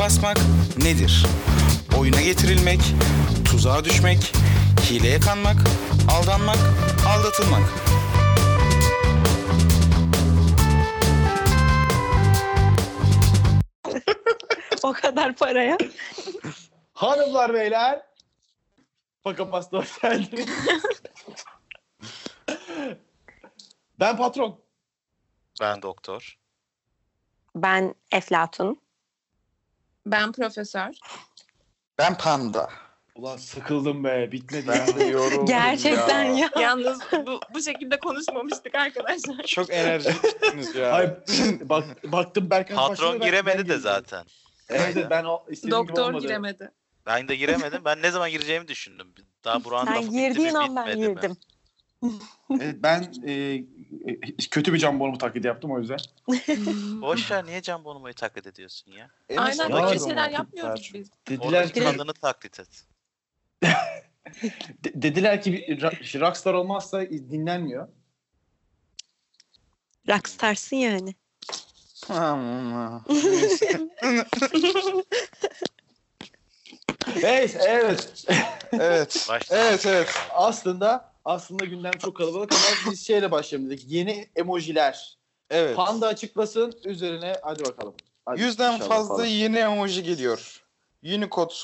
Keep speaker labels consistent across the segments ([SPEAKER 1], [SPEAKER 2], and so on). [SPEAKER 1] basmak nedir? Oyuna getirilmek, tuzağa düşmek, hileye kanmak, aldanmak, aldatılmak.
[SPEAKER 2] O kadar paraya.
[SPEAKER 3] Hanımlar beyler. Paka pasta hoş geldiniz. ben patron.
[SPEAKER 1] Ben doktor.
[SPEAKER 2] Ben Eflatun.
[SPEAKER 4] Ben profesör.
[SPEAKER 1] Ben panda.
[SPEAKER 3] Ulan sıkıldım be bitmedi. ya.
[SPEAKER 5] Ben de yoruldum
[SPEAKER 2] Gerçekten
[SPEAKER 5] ya.
[SPEAKER 2] ya.
[SPEAKER 4] Yalnız bu, bu şekilde konuşmamıştık arkadaşlar.
[SPEAKER 5] Çok enerjiktiniz ya.
[SPEAKER 3] Hayır, bak, baktım Berkan
[SPEAKER 6] Patron
[SPEAKER 3] başladı, ben-
[SPEAKER 6] giremedi
[SPEAKER 3] ben
[SPEAKER 6] de
[SPEAKER 3] girdim.
[SPEAKER 6] zaten.
[SPEAKER 3] Evet,
[SPEAKER 6] Aynen.
[SPEAKER 3] ben o istediğim gibi
[SPEAKER 4] Doktor
[SPEAKER 3] olmadı.
[SPEAKER 4] giremedi.
[SPEAKER 6] Ben de giremedim. Ben ne zaman gireceğimi düşündüm. Daha Burak'ın
[SPEAKER 2] Sen
[SPEAKER 6] lafı bitti
[SPEAKER 2] girdiğin
[SPEAKER 6] mi,
[SPEAKER 2] an ben
[SPEAKER 6] şey bitmedi mi?
[SPEAKER 2] girdim.
[SPEAKER 3] Evet, ben e, e, kötü bir can bonumu taklidi yaptım o yüzden.
[SPEAKER 6] Boş ver niye Can Bonomo'yu taklit ediyorsun ya?
[SPEAKER 4] Aynen
[SPEAKER 3] Var
[SPEAKER 4] öyle
[SPEAKER 3] o
[SPEAKER 4] şeyler
[SPEAKER 3] zaman.
[SPEAKER 4] yapmıyoruz biz.
[SPEAKER 5] Dediler
[SPEAKER 6] Oradaki
[SPEAKER 5] ki,
[SPEAKER 6] kadını taklit et.
[SPEAKER 3] De- dediler ki bir ra- rockstar olmazsa dinlenmiyor.
[SPEAKER 2] Rockstarsın yani.
[SPEAKER 3] Evet, evet.
[SPEAKER 5] evet.
[SPEAKER 6] Başla.
[SPEAKER 5] Evet evet.
[SPEAKER 3] Aslında aslında gündem çok kalabalık ama biz şeyle başlayalım dedik. Yeni emojiler.
[SPEAKER 5] Evet.
[SPEAKER 3] Panda açıklasın üzerine hadi bakalım. Hadi
[SPEAKER 5] Yüzden
[SPEAKER 3] inşallah
[SPEAKER 5] fazla
[SPEAKER 3] falan.
[SPEAKER 5] yeni emoji geliyor. Unicode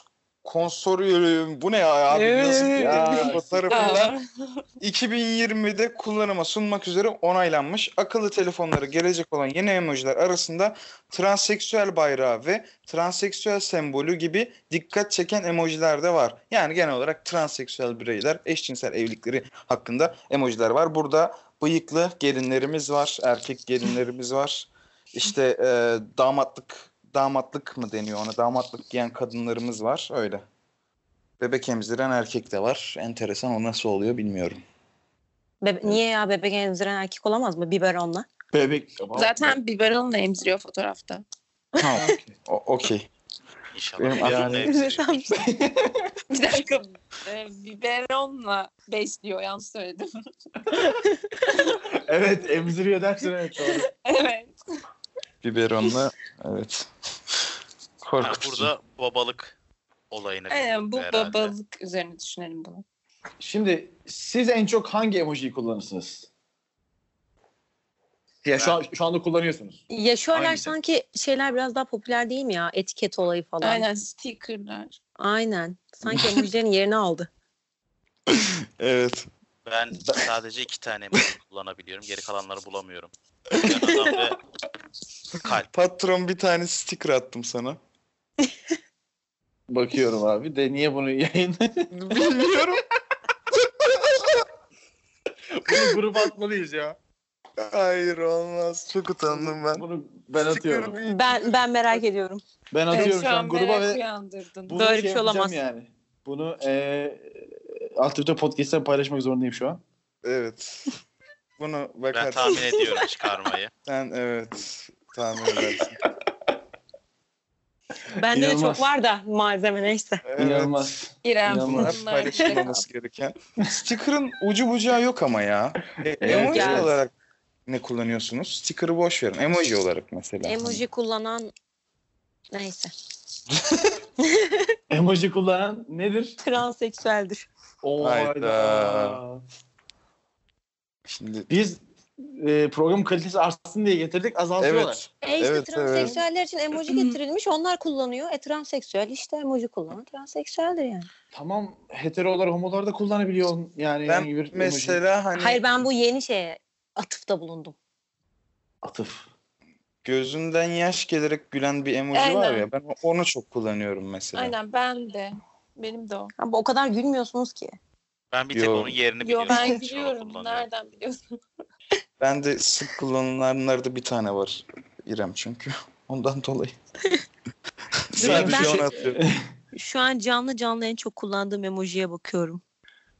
[SPEAKER 5] konsoryum bu ne ya abi nasıl
[SPEAKER 3] Ya.
[SPEAKER 5] ya
[SPEAKER 3] şey.
[SPEAKER 5] tarafından 2020'de kullanıma sunmak üzere onaylanmış akıllı telefonlara gelecek olan yeni emojiler arasında transseksüel bayrağı ve transseksüel sembolü gibi dikkat çeken emojiler de var. Yani genel olarak transseksüel bireyler eşcinsel evlilikleri hakkında emojiler var. Burada bıyıklı gelinlerimiz var, erkek gelinlerimiz var. İşte e, damatlık damatlık mı deniyor ona? Damatlık giyen kadınlarımız var. Öyle. Bebek emziren erkek de var. Enteresan o nasıl oluyor bilmiyorum.
[SPEAKER 2] Bebe- niye ya bebek emziren erkek olamaz mı biberonla?
[SPEAKER 3] Bebek.
[SPEAKER 4] Zaten biberonla emziriyor fotoğrafta.
[SPEAKER 5] Ha, o- okey.
[SPEAKER 6] İnşallah.
[SPEAKER 5] Benim
[SPEAKER 6] Kadını
[SPEAKER 5] aklım-
[SPEAKER 6] emziriyor.
[SPEAKER 4] Bir dakika. e, biberonla besliyor yanlış söyledim.
[SPEAKER 3] Evet emziriyor dersin evet doğru.
[SPEAKER 4] evet.
[SPEAKER 5] Biberonla evet.
[SPEAKER 6] Ha,
[SPEAKER 5] Korkutucu.
[SPEAKER 6] burada babalık olayına
[SPEAKER 4] Aynen Ee, bu
[SPEAKER 6] girdik herhalde.
[SPEAKER 4] babalık üzerine düşünelim bunu.
[SPEAKER 3] Şimdi siz en çok hangi emojiyi kullanırsınız? Ya şu, an, şu anda kullanıyorsunuz.
[SPEAKER 2] Ya şu aralar
[SPEAKER 3] Hangisi?
[SPEAKER 2] sanki şeyler biraz daha popüler değil mi ya? Etiket olayı falan.
[SPEAKER 4] Aynen stickerlar.
[SPEAKER 2] Aynen. Sanki emojilerin yerini aldı.
[SPEAKER 5] Evet.
[SPEAKER 6] Ben sadece iki tane emoji kullanabiliyorum. Geri kalanları bulamıyorum. Can adam ve kalp.
[SPEAKER 5] Patron bir tane sticker attım sana.
[SPEAKER 3] Bakıyorum abi de niye bunu yayın
[SPEAKER 5] Bilmiyorum.
[SPEAKER 3] bunu gruba atmalıyız ya.
[SPEAKER 5] Hayır olmaz. Çok utandım ben.
[SPEAKER 3] Bunu ben atıyorum.
[SPEAKER 2] Ben ben merak ediyorum.
[SPEAKER 3] Ben atıyorum
[SPEAKER 4] Evet,
[SPEAKER 3] şu an gruba
[SPEAKER 4] merak
[SPEAKER 3] ve
[SPEAKER 4] uyandırdın.
[SPEAKER 3] bunu
[SPEAKER 2] Böyle bir
[SPEAKER 3] şey
[SPEAKER 2] şey olamaz.
[SPEAKER 3] yapacağım yani. Bunu eee Altıfta Podcast'ten paylaşmak zorundayım şu an.
[SPEAKER 5] Evet. Bunu
[SPEAKER 6] Ben
[SPEAKER 5] bakarsın.
[SPEAKER 6] tahmin ediyorum çıkarmayı.
[SPEAKER 5] Sen evet. Tahmin edersin.
[SPEAKER 2] Bende de
[SPEAKER 3] İnanılmaz.
[SPEAKER 2] çok var da malzeme neyse.
[SPEAKER 5] Evet.
[SPEAKER 3] İnanılmaz.
[SPEAKER 4] İrem
[SPEAKER 3] İnanılmaz.
[SPEAKER 5] Bunlar
[SPEAKER 4] bunlar işte.
[SPEAKER 5] paylaşılmaması gereken. Sticker'ın ucu bucağı yok ama ya. E, emoji
[SPEAKER 2] evet.
[SPEAKER 5] olarak ne kullanıyorsunuz? Sticker'ı boş verin. Emoji olarak mesela.
[SPEAKER 2] Emoji kullanan neyse.
[SPEAKER 3] Emoji kullanan nedir?
[SPEAKER 2] Transseksüeldir.
[SPEAKER 3] Oo,
[SPEAKER 5] Hayda.
[SPEAKER 3] hayda.
[SPEAKER 5] Şimdi
[SPEAKER 3] Biz eee program kalitesi artsın diye getirdik azaltıyorlar.
[SPEAKER 5] evet.
[SPEAKER 2] E işte
[SPEAKER 5] Evet,
[SPEAKER 2] transseksüeller için emoji getirilmiş. Onlar kullanıyor. E transseksüel işte emoji kullanan transseksüeldir yani.
[SPEAKER 3] Tamam heterolar homolar da kullanabiliyor yani
[SPEAKER 5] Ben
[SPEAKER 3] herhangi bir emoji.
[SPEAKER 5] Mesela hani
[SPEAKER 2] Hayır ben bu yeni şeye atıfta bulundum.
[SPEAKER 3] atıf.
[SPEAKER 5] gözünden yaş gelerek gülen bir emoji var
[SPEAKER 4] Aynen.
[SPEAKER 5] ya. Ben onu çok kullanıyorum mesela.
[SPEAKER 4] Aynen ben de. Benim de o.
[SPEAKER 2] Ama o kadar gülmüyorsunuz ki.
[SPEAKER 6] Ben bir tek
[SPEAKER 5] Yo.
[SPEAKER 6] onun yerini
[SPEAKER 4] Yo
[SPEAKER 6] biliyorum. Sonra
[SPEAKER 4] ben gülüyorum.
[SPEAKER 6] kullanıyorum.
[SPEAKER 4] Nereden biliyorsun?
[SPEAKER 5] Ben de sık kullanılanlarda bir tane var. İrem çünkü. Ondan dolayı. şey Sadece
[SPEAKER 2] Ben-
[SPEAKER 5] onu atıyorum.
[SPEAKER 2] Şu an canlı canlı en çok kullandığım emojiye bakıyorum.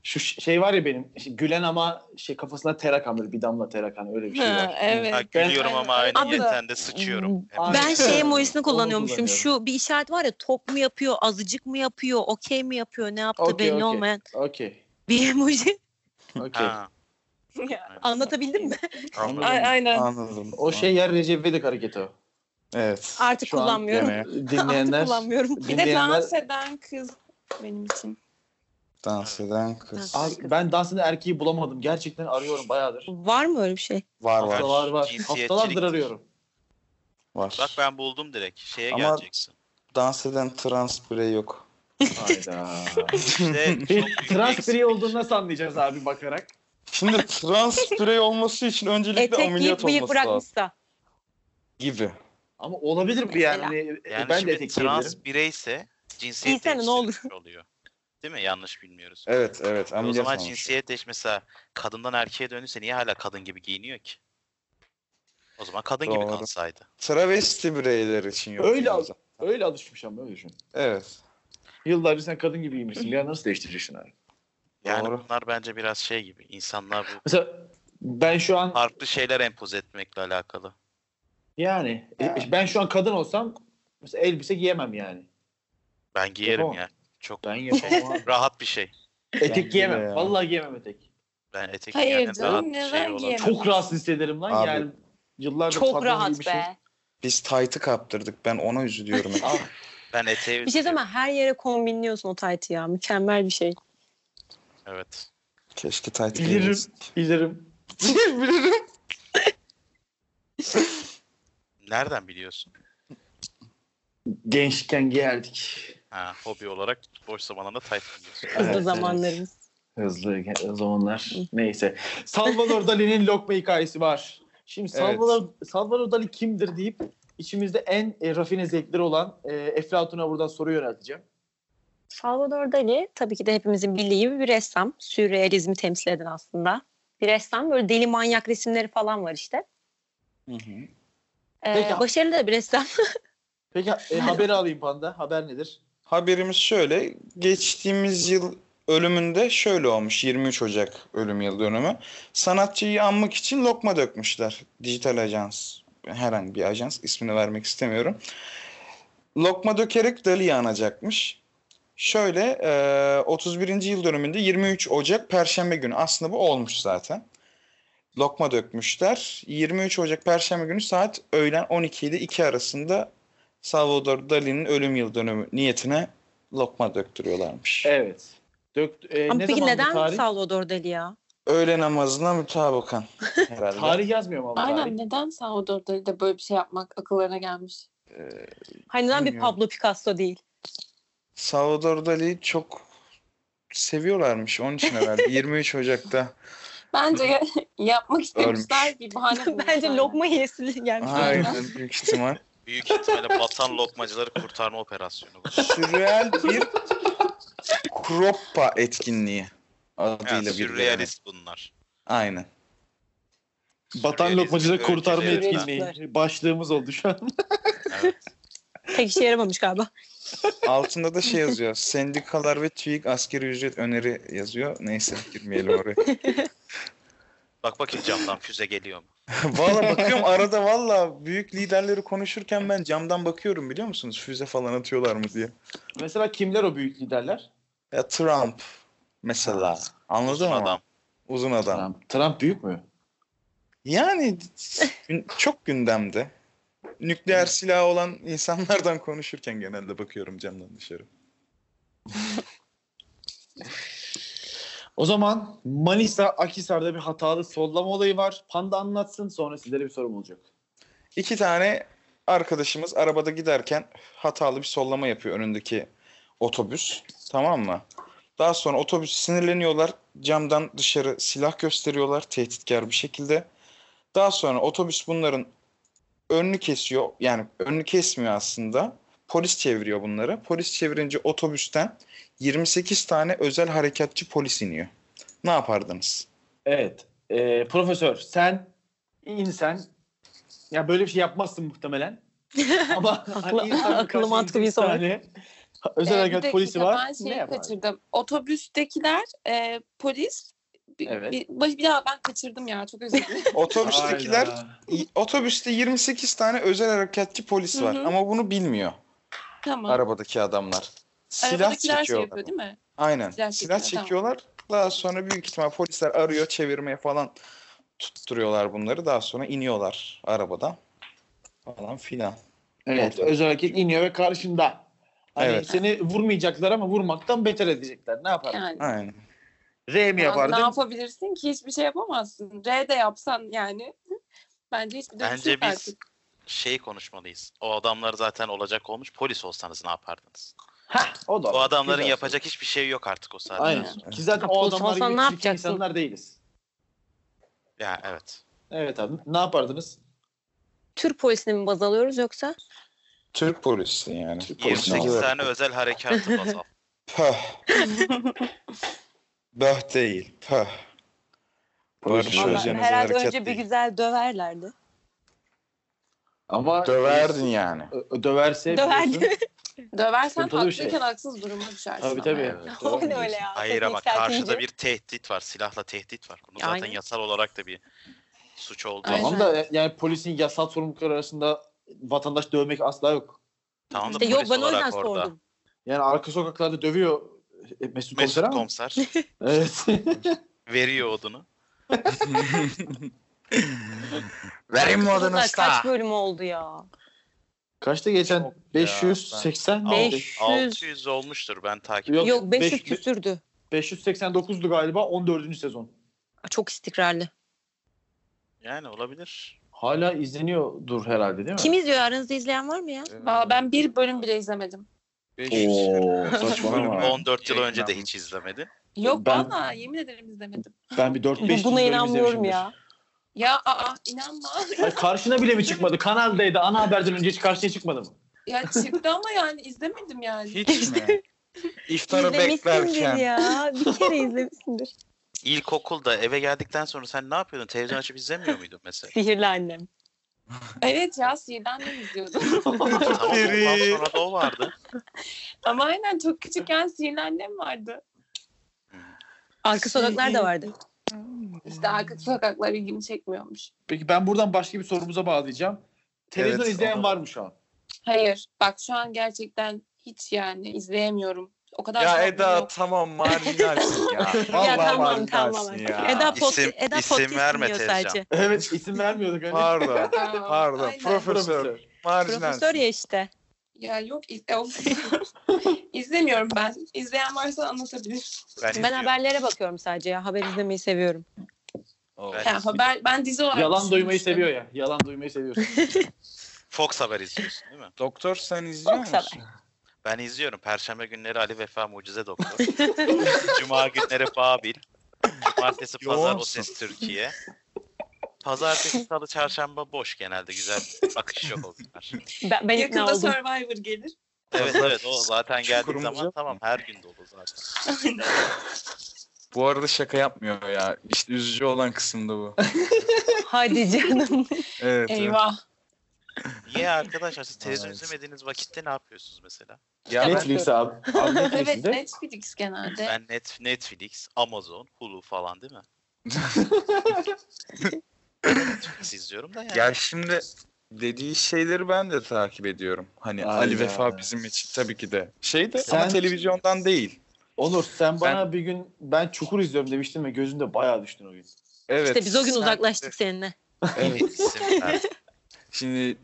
[SPEAKER 3] Şu ş- şey var ya benim işte gülen ama şey kafasına ter akan böyle bir damla ter akan öyle bir şey
[SPEAKER 4] Ha,
[SPEAKER 3] var.
[SPEAKER 4] evet.
[SPEAKER 6] Ha, gülüyorum
[SPEAKER 4] Ben-
[SPEAKER 6] ama aynı
[SPEAKER 2] Abi-
[SPEAKER 6] yeten de sıçıyorum.
[SPEAKER 3] Abi-
[SPEAKER 2] Ben şey emojisini
[SPEAKER 3] Onu
[SPEAKER 2] kullanıyormuşum.
[SPEAKER 3] kullanıyorum.
[SPEAKER 2] Şu bir işaret var ya top mu yapıyor, azıcık mı yapıyor, okey mi yapıyor, ne yaptı
[SPEAKER 3] Okey,
[SPEAKER 2] belli
[SPEAKER 3] okey.
[SPEAKER 2] olmayan
[SPEAKER 3] Okey.
[SPEAKER 2] bir emoji.
[SPEAKER 3] Okey.
[SPEAKER 6] Ha.
[SPEAKER 4] Ya.
[SPEAKER 2] Anlatabildim mi?
[SPEAKER 3] Anladım.
[SPEAKER 4] A- aynen.
[SPEAKER 5] Anladım.
[SPEAKER 6] şey
[SPEAKER 3] O şey yer Recep İvedik hareketi o.
[SPEAKER 5] Evet.
[SPEAKER 2] Artık
[SPEAKER 5] Şu an
[SPEAKER 2] kullanmıyorum.
[SPEAKER 5] gene
[SPEAKER 2] Artık
[SPEAKER 3] Dinleyenler
[SPEAKER 2] kullanmıyorum.
[SPEAKER 4] Bir de
[SPEAKER 3] Dinleyenler-
[SPEAKER 4] dans eden kız benim için.
[SPEAKER 5] Dans eden kız.
[SPEAKER 2] Ha.
[SPEAKER 3] Abi ben dans eden erkeği bulamadım. Gerçekten arıyorum bayağıdır.
[SPEAKER 2] Var mı öyle bir şey?
[SPEAKER 5] Var var
[SPEAKER 3] Haftalar var.
[SPEAKER 6] Cinsiyetçilik.
[SPEAKER 3] Haftalardır arıyorum.
[SPEAKER 5] var.
[SPEAKER 6] Bak ben buldum direkt. Şeye
[SPEAKER 5] Ama-
[SPEAKER 6] geleceksin.
[SPEAKER 5] Dans eden trans birey yok.
[SPEAKER 3] Hayda.
[SPEAKER 6] İşte çok büyük bir
[SPEAKER 3] Trans
[SPEAKER 6] eksiklik.
[SPEAKER 3] biri olduğunu nasıl anlayacağız abi bakarak?
[SPEAKER 5] Şimdi trans birey olması için öncelikle
[SPEAKER 2] Etek giyip
[SPEAKER 5] ameliyat
[SPEAKER 2] bıyık
[SPEAKER 5] olması lazım.
[SPEAKER 2] bırakmışsa.
[SPEAKER 5] Gibi.
[SPEAKER 3] Ama olabilir bir yani. hani, e,
[SPEAKER 2] Mesela.
[SPEAKER 6] Yani
[SPEAKER 3] ben de
[SPEAKER 6] şimdi
[SPEAKER 3] etek
[SPEAKER 6] trans
[SPEAKER 3] giyebilirim.
[SPEAKER 6] bireyse cinsiyet
[SPEAKER 2] İnsana ne olur.
[SPEAKER 6] değiştirmiş oluyor. Değil mi? Yanlış bilmiyoruz. E,
[SPEAKER 5] Evet evet
[SPEAKER 6] o
[SPEAKER 5] ameliyat
[SPEAKER 6] zaman
[SPEAKER 5] olmuş.
[SPEAKER 6] cinsiyet değiş mesela kadından erkeğe dönüyorsa niye hala kadın gibi giyiniyor ki? O zaman kadın gibi
[SPEAKER 5] Doğru.
[SPEAKER 6] kalsaydı.
[SPEAKER 5] Travesti bireyler için yok.
[SPEAKER 3] Öyle
[SPEAKER 5] yani
[SPEAKER 3] al-
[SPEAKER 5] zaten.
[SPEAKER 3] Öyle alışmış ama öyle düşün.
[SPEAKER 5] Evet.
[SPEAKER 3] Yıllarca sen kadın gibi giymişsin. Ya nasıl değiştireceksin abi?
[SPEAKER 6] Yani
[SPEAKER 5] Doğru.
[SPEAKER 6] bunlar bence biraz şey gibi. İnsanlar bu
[SPEAKER 3] Mesela ben şu an
[SPEAKER 6] farklı şeyler empoze etmekle alakalı.
[SPEAKER 3] yani e, ben şu an kadın olsam mesela elbise giyemem yani.
[SPEAKER 6] Ben giyerim
[SPEAKER 5] Yapamam.
[SPEAKER 6] ya. Çok
[SPEAKER 3] Ben yapamam. abi.
[SPEAKER 6] rahat bir şey.
[SPEAKER 3] etek
[SPEAKER 5] Ben de
[SPEAKER 3] giyemem.
[SPEAKER 5] ya.
[SPEAKER 3] Vallahi giyemem etek.
[SPEAKER 6] Ben etek
[SPEAKER 4] Hayır
[SPEAKER 6] giyerim,
[SPEAKER 4] canım,
[SPEAKER 6] rahat bir
[SPEAKER 4] neden
[SPEAKER 6] şey olan.
[SPEAKER 4] giyemem?
[SPEAKER 3] Çok rahatsız hissederim lan
[SPEAKER 5] Abi.
[SPEAKER 3] yani. Yıllardır
[SPEAKER 2] Çok
[SPEAKER 3] kadın
[SPEAKER 2] rahat
[SPEAKER 3] giymişim.
[SPEAKER 2] be.
[SPEAKER 5] Biz tight'ı kaptırdık. Ben ona üzülüyorum.
[SPEAKER 3] Ah,
[SPEAKER 6] Ben eteği
[SPEAKER 2] Bir şey söyleyeyim mi? Her yere kombinliyorsun o taytı ya. Mükemmel bir şey.
[SPEAKER 6] Evet.
[SPEAKER 5] Keşke tight
[SPEAKER 3] Bilirim.
[SPEAKER 5] giymeseydik.
[SPEAKER 3] bilirim.
[SPEAKER 5] Bilirim.
[SPEAKER 6] Nereden biliyorsun?
[SPEAKER 3] Gençken giyerdik.
[SPEAKER 6] Ha, hobi olarak boş zamanında tayt giyiyorsun.
[SPEAKER 2] Hızlı
[SPEAKER 3] evet.
[SPEAKER 2] zamanlarımız.
[SPEAKER 3] Hızlı ge- zamanlar. Neyse. Salvador Dali'nin lokma hikayesi var. Şimdi Salvador, Salvador Dali kimdir deyip içimizde en e, rafine zevkleri olan e, Eflatun'a buradan soru yönelteceğim.
[SPEAKER 2] Salvador Dali tabii ki de hepimizin bildiği gibi bir ressam. Sürrealizmi temsil eden aslında. Bir ressam. Böyle deli manyak resimleri falan var işte. Ee,
[SPEAKER 3] Peki.
[SPEAKER 2] başarılı da bir ressam.
[SPEAKER 3] Peki e, haberi alayım Panda. Haber nedir?
[SPEAKER 5] Haberimiz şöyle. Geçtiğimiz yıl ölümünde şöyle olmuş. 23 Ocak ölüm yıl dönümü. Sanatçıyı anmak için lokma dökmüşler. Dijital ajans. Herhangi bir ajans. ismini vermek istemiyorum. Lokma dökerek Dali'yi anacakmış. Şöyle e, 31. yıl dönümünde 23 Ocak Perşembe günü. Aslında bu olmuş zaten. Lokma dökmüşler. 23 Ocak Perşembe günü saat öğlen 12 ile 2 arasında Salvador Dali'nin ölüm yıl dönümü niyetine lokma döktürüyorlarmış.
[SPEAKER 3] Evet. Dök, e,
[SPEAKER 2] Ama
[SPEAKER 3] ne
[SPEAKER 2] peki
[SPEAKER 3] zaman
[SPEAKER 2] neden
[SPEAKER 3] tarih?
[SPEAKER 2] Salvador Dali ya?
[SPEAKER 5] Öğle namazına mütabakan herhalde.
[SPEAKER 3] tarih yazmıyor mu? ama
[SPEAKER 4] Aynen
[SPEAKER 3] tarih?
[SPEAKER 4] neden Salvador Dali'de böyle bir şey yapmak akıllarına gelmiş?
[SPEAKER 2] Hani neden bir
[SPEAKER 5] Bilmiyorum.
[SPEAKER 2] Pablo Picasso değil?
[SPEAKER 5] Salvador Dali'yi çok seviyorlarmış onun için herhalde 23 Ocak'ta.
[SPEAKER 4] Bence ya- yapmak istemişler
[SPEAKER 5] Ölmüş.
[SPEAKER 4] bir bahane
[SPEAKER 2] Bence
[SPEAKER 4] bulmuşlar.
[SPEAKER 2] lokma yiyesi gelmiş.
[SPEAKER 5] Aynen büyük ihtimal.
[SPEAKER 6] Büyük ihtimalle batan lokmacıları kurtarma operasyonu bu.
[SPEAKER 5] Sürreal bir Kroppa etkinliği adıyla
[SPEAKER 6] Yani
[SPEAKER 5] bir
[SPEAKER 6] sürrealist bunlar.
[SPEAKER 5] Aynen.
[SPEAKER 3] Batan lokmacılık
[SPEAKER 6] Sürrealist
[SPEAKER 3] kurtarma
[SPEAKER 6] öyküleri.
[SPEAKER 3] etkinliği. Başlığımız oldu şu an.
[SPEAKER 6] Evet.
[SPEAKER 2] Pek işe yaramamış şey galiba.
[SPEAKER 5] Altında da şey yazıyor. Sendikalar ve TÜİK askeri ücret öneri yazıyor. Neyse girmeyelim oraya.
[SPEAKER 6] Bak bakayım camdan füze geliyor mu?
[SPEAKER 5] valla bakıyorum arada valla büyük liderleri konuşurken ben camdan bakıyorum biliyor musunuz? Füze falan atıyorlar mı diye. Mesela
[SPEAKER 3] Kimler o büyük liderler?
[SPEAKER 5] Ya Trump mesela. Anladın
[SPEAKER 6] Uzun
[SPEAKER 5] mı?
[SPEAKER 6] adam.
[SPEAKER 5] Uzun adam.
[SPEAKER 3] Trump. Trump büyük mü?
[SPEAKER 5] Yani gün- çok gündemde. Nükleer silahı olan insanlardan konuşurken genelde bakıyorum camdan dışarı.
[SPEAKER 3] O zaman Manisa Akhisar'da bir hatalı sollama olayı var. Panda anlatsın sonra sizlere bir sorum olacak.
[SPEAKER 5] İki tane arkadaşımız arabada giderken hatalı bir sollama yapıyor önündeki otobüs. Tamam mı? Daha sonra otobüs sinirleniyorlar. Camdan dışarı silah gösteriyorlar tehditkar bir şekilde. Daha sonra otobüs bunların önünü kesiyor. Yani önünü kesmiyor aslında. Polis çeviriyor bunları. Polis çevirince otobüsten 28 tane özel harekatçı polis iniyor. Ne yapardınız?
[SPEAKER 3] Evet. Ee, profesör sen insan ya böyle bir şey yapmazsın muhtemelen. Ama hani
[SPEAKER 2] Aklı-
[SPEAKER 3] insanın
[SPEAKER 2] aklı
[SPEAKER 3] karşısında
[SPEAKER 2] mantıklı bir
[SPEAKER 3] iki
[SPEAKER 2] soru.
[SPEAKER 3] tane Özel
[SPEAKER 4] Ee, bir
[SPEAKER 3] harekat
[SPEAKER 4] dakika,
[SPEAKER 3] polisi var.
[SPEAKER 4] Ben
[SPEAKER 3] ne
[SPEAKER 4] şeyi
[SPEAKER 3] yapar?
[SPEAKER 4] kaçırdım. Otobüstekiler e, polis bir,
[SPEAKER 3] Evet.
[SPEAKER 4] bir, bir daha ben kaçırdım ya çok özür dilerim.
[SPEAKER 5] Otobüstekiler
[SPEAKER 3] Hayda.
[SPEAKER 5] İ- otobüste 28 tane özel harekatçi polis
[SPEAKER 4] Hı
[SPEAKER 5] var
[SPEAKER 4] hı.
[SPEAKER 5] ama bunu bilmiyor
[SPEAKER 4] tamam.
[SPEAKER 5] arabadaki adamlar. Silah
[SPEAKER 4] Arabadakiler şey
[SPEAKER 5] çekiyorlar.
[SPEAKER 4] yapıyor değil mi?
[SPEAKER 5] Aynen.
[SPEAKER 4] Silah
[SPEAKER 5] Silah,
[SPEAKER 4] çekiyor,
[SPEAKER 5] çekiyorlar. Daha sonra büyük ihtimal polisler arıyor, çevirmeye falan tutturuyorlar bunları. Daha sonra iniyorlar arabada falan filan.
[SPEAKER 3] Evet, özel hareket iniyor ve karşında. Hani
[SPEAKER 5] Evet.
[SPEAKER 3] seni vurmayacaklar ama vurmaktan beter edecekler. Ne yapar?
[SPEAKER 4] Yani.
[SPEAKER 5] Aynen.
[SPEAKER 3] R mi
[SPEAKER 4] Yani
[SPEAKER 3] yapardın?
[SPEAKER 4] Ne yapabilirsin ki? Hiçbir şey yapamazsın. R de yapsan yani. Bence hiçbir dönüşü
[SPEAKER 6] Bence
[SPEAKER 4] yok
[SPEAKER 6] biz-
[SPEAKER 4] artık.
[SPEAKER 6] Şey konuşmalıyız. O adamlar zaten olacak olmuş. Polis olsanız ne yapardınız?
[SPEAKER 3] Hah, o da.
[SPEAKER 6] O adamların
[SPEAKER 3] Güzel
[SPEAKER 6] yapacak hiçbir şey yok artık o
[SPEAKER 3] soru.
[SPEAKER 6] saatten
[SPEAKER 3] Aynen.
[SPEAKER 6] sonra.
[SPEAKER 3] Ki zaten
[SPEAKER 2] Polis
[SPEAKER 3] o adamlar
[SPEAKER 2] olsan
[SPEAKER 3] gibi
[SPEAKER 2] ne
[SPEAKER 3] çirkin
[SPEAKER 2] yapacaksın?
[SPEAKER 3] insanlar değiliz.
[SPEAKER 6] Ya evet.
[SPEAKER 3] Evet abi. Ne yapardınız?
[SPEAKER 2] Türk polisini mi baz alıyoruz yoksa?
[SPEAKER 5] Türk polisi yani.
[SPEAKER 3] Türk polisi.
[SPEAKER 6] 28
[SPEAKER 5] olarak.
[SPEAKER 6] tane özel harekatı baz al.
[SPEAKER 5] Pöh. Böh değil. Pöh. Barış
[SPEAKER 2] Vallahi
[SPEAKER 5] Özcan özel
[SPEAKER 2] herhalde
[SPEAKER 5] hareket
[SPEAKER 2] önce bir
[SPEAKER 5] değil.
[SPEAKER 2] güzel döverlerdi.
[SPEAKER 3] Ama
[SPEAKER 5] Döverdin yani.
[SPEAKER 3] Ö- Döverse
[SPEAKER 2] Döverdi.
[SPEAKER 3] biliyorsun.
[SPEAKER 4] Döversen
[SPEAKER 3] Sıkıntılı bir şey.
[SPEAKER 4] haklıyken haksız duruma düşersin.
[SPEAKER 3] Tabii
[SPEAKER 4] ama
[SPEAKER 3] tabii.
[SPEAKER 4] yani.
[SPEAKER 2] O ne
[SPEAKER 3] Döverdi.
[SPEAKER 2] öyle ya?
[SPEAKER 6] Hayır
[SPEAKER 2] sesini
[SPEAKER 6] ama karşıda
[SPEAKER 2] yükseltince.
[SPEAKER 6] bir tehdit var. Silahla tehdit var. Bunu
[SPEAKER 2] Aynen.
[SPEAKER 6] zaten yasal olarak da bir suç oldu.
[SPEAKER 4] Aynen.
[SPEAKER 6] Tamam,
[SPEAKER 3] Tamam da yani polisin yasal sorumlulukları arasında vatandaş dövmek asla yok.
[SPEAKER 6] tamam da
[SPEAKER 2] İşte
[SPEAKER 6] polis
[SPEAKER 2] yok ben o yüzden
[SPEAKER 6] olarak orada.
[SPEAKER 2] sordum.
[SPEAKER 3] Yani arka sokaklarda dövüyor e, Mesut, Komiser
[SPEAKER 6] Mesut
[SPEAKER 3] ama.
[SPEAKER 6] komiser
[SPEAKER 3] Evet.
[SPEAKER 6] veriyor odunu.
[SPEAKER 5] Vereyim mi
[SPEAKER 2] Kızlar
[SPEAKER 5] adını
[SPEAKER 2] Kaç
[SPEAKER 5] usta?
[SPEAKER 2] bölüm oldu ya?
[SPEAKER 3] Kaçta geçen?
[SPEAKER 6] Çok ya,
[SPEAKER 3] 580 mi?
[SPEAKER 2] Beş-
[SPEAKER 6] 600 olmuştur ben takip
[SPEAKER 3] Yok,
[SPEAKER 2] Yok 500
[SPEAKER 3] beş-
[SPEAKER 2] küsürdü.
[SPEAKER 3] 589'du galiba 14. sezon.
[SPEAKER 2] Çok istikrarlı.
[SPEAKER 6] Yani olabilir.
[SPEAKER 3] Hala izleniyordur herhalde değil mi?
[SPEAKER 2] Kim izliyor? Aranızda izleyen var mı ya?
[SPEAKER 4] Valla ben bir bölüm bile izlemedim.
[SPEAKER 5] Oo, saçmalama.
[SPEAKER 6] 14 yıl önce de hiç izlemedi.
[SPEAKER 4] Yok
[SPEAKER 3] Ben-
[SPEAKER 4] valla yemin ederim izlemedim.
[SPEAKER 3] Ben bir 4-5 bölüm
[SPEAKER 2] Buna inanmıyorum
[SPEAKER 3] izlemişimdir.
[SPEAKER 2] ya.
[SPEAKER 4] Ya aa inanma.
[SPEAKER 3] Ay, karşına bile mi çıkmadı? Kanaldaydı. Ana haberden önce hiç karşıya çıkmadı mı?
[SPEAKER 4] Ya çıktı ama yani izlemedim yani.
[SPEAKER 5] Hiç mi? İftarı
[SPEAKER 2] İzlemişsindir
[SPEAKER 5] beklerken.
[SPEAKER 2] ya. Bir kere izlemişsindir.
[SPEAKER 6] İlkokulda eve geldikten sonra sen ne yapıyordun? Televizyon açıp izlemiyor muydun mesela?
[SPEAKER 2] Sihirli annem.
[SPEAKER 4] Evet ya sihirden de izliyordum.
[SPEAKER 6] tamam ondan
[SPEAKER 5] Peri.
[SPEAKER 6] sonra da o vardı.
[SPEAKER 4] ama aynen çok küçükken sihirli annem vardı.
[SPEAKER 2] Arka sokaklar da vardı.
[SPEAKER 4] İşte arka sokaklar ilgimi çekmiyormuş.
[SPEAKER 3] Peki ben buradan başka bir sorumuza bağlayacağım. Televizyon
[SPEAKER 5] Evet,
[SPEAKER 3] izleyen
[SPEAKER 5] onu-
[SPEAKER 3] var mı şu an?
[SPEAKER 4] Hayır bak şu an gerçekten hiç yani izleyemiyorum. O kadar şey
[SPEAKER 5] Ya
[SPEAKER 4] sabrım
[SPEAKER 5] Eda
[SPEAKER 4] yok.
[SPEAKER 5] tamam marjinalsin ya. Vallahi
[SPEAKER 2] ya tamam tamam.
[SPEAKER 5] marjinalsin ya.
[SPEAKER 2] Eda, pot,
[SPEAKER 6] İsim-
[SPEAKER 2] Eda
[SPEAKER 6] isim
[SPEAKER 2] podcast
[SPEAKER 6] verme
[SPEAKER 2] dinliyor
[SPEAKER 6] Tezcan.
[SPEAKER 2] sadece.
[SPEAKER 3] Evet isim vermiyorduk. Hani.
[SPEAKER 5] Pardon.
[SPEAKER 4] Aa,
[SPEAKER 5] Pardon.
[SPEAKER 4] aynen.
[SPEAKER 5] Profesör.
[SPEAKER 2] Profesör
[SPEAKER 5] Marjinalsin.
[SPEAKER 2] ya işte.
[SPEAKER 4] Ya yok iz- e, o- izlemiyorum ben. İzleyen varsa anlatabilir.
[SPEAKER 6] Ben,
[SPEAKER 2] Ben haberlere bakıyorum sadece ya. Haber izlemeyi seviyorum.
[SPEAKER 6] Ben-
[SPEAKER 4] Yani haber ben dizi olarak
[SPEAKER 3] Yalan duymayı
[SPEAKER 4] düşünmüştüm.
[SPEAKER 3] seviyor ya. Yalan duymayı seviyorsun.
[SPEAKER 6] Fox haber izliyorsun değil mi?
[SPEAKER 5] Doktor sen izliyor
[SPEAKER 2] Çok sever.
[SPEAKER 5] musun?
[SPEAKER 6] Ben izliyorum. Perşembe günleri Ali Vefa Mucize Doktor. Cuma günleri Babil. Cumartesi Pazar O
[SPEAKER 5] Yoğunsun.
[SPEAKER 6] Ses Türkiye. Pazartesi, Salı, Çarşamba boş genelde. Güzel bir akış yok o günler.
[SPEAKER 2] Ben, ben ikna
[SPEAKER 4] Yakında
[SPEAKER 2] oldum.
[SPEAKER 4] Survivor gelir.
[SPEAKER 6] Evet
[SPEAKER 5] Pazar-
[SPEAKER 6] evet o zaten geldiği
[SPEAKER 5] Çukurumuzu
[SPEAKER 6] zaman
[SPEAKER 5] yapma.
[SPEAKER 6] tamam her gün dolu zaten.
[SPEAKER 5] Bu arada şaka yapmıyor ya. İşte üzücü olan kısımda bu.
[SPEAKER 2] Hadi canım.
[SPEAKER 5] Evet. evet.
[SPEAKER 4] Eyvah.
[SPEAKER 6] Niye arkadaşlar siz televizyon
[SPEAKER 5] Evet.
[SPEAKER 6] izlemediğiniz vakitte ne yapıyorsunuz mesela?
[SPEAKER 5] Ya ben-
[SPEAKER 3] Netflix abi. Abi
[SPEAKER 4] Evet
[SPEAKER 3] Netflix'inde.
[SPEAKER 4] Netflix genelde.
[SPEAKER 6] Ben net Netflix, Amazon, Hulu falan değil mi? Netflix izliyorum da yani.
[SPEAKER 5] Ya şimdi dediği şeyleri ben de takip ediyorum. Hani
[SPEAKER 3] Aynen.
[SPEAKER 5] Ali Vefa bizim için tabii ki de. Şey de ama
[SPEAKER 3] Sen-
[SPEAKER 5] televizyondan değil.
[SPEAKER 3] Onur sen bana bir gün ben Çukur izliyorum demiştin ve gözünde bayağı düştün o gün.
[SPEAKER 5] Evet.
[SPEAKER 2] İşte biz o gün
[SPEAKER 5] sen-
[SPEAKER 2] uzaklaştık seninle.
[SPEAKER 6] En iyisi. Ben-
[SPEAKER 5] Şimdi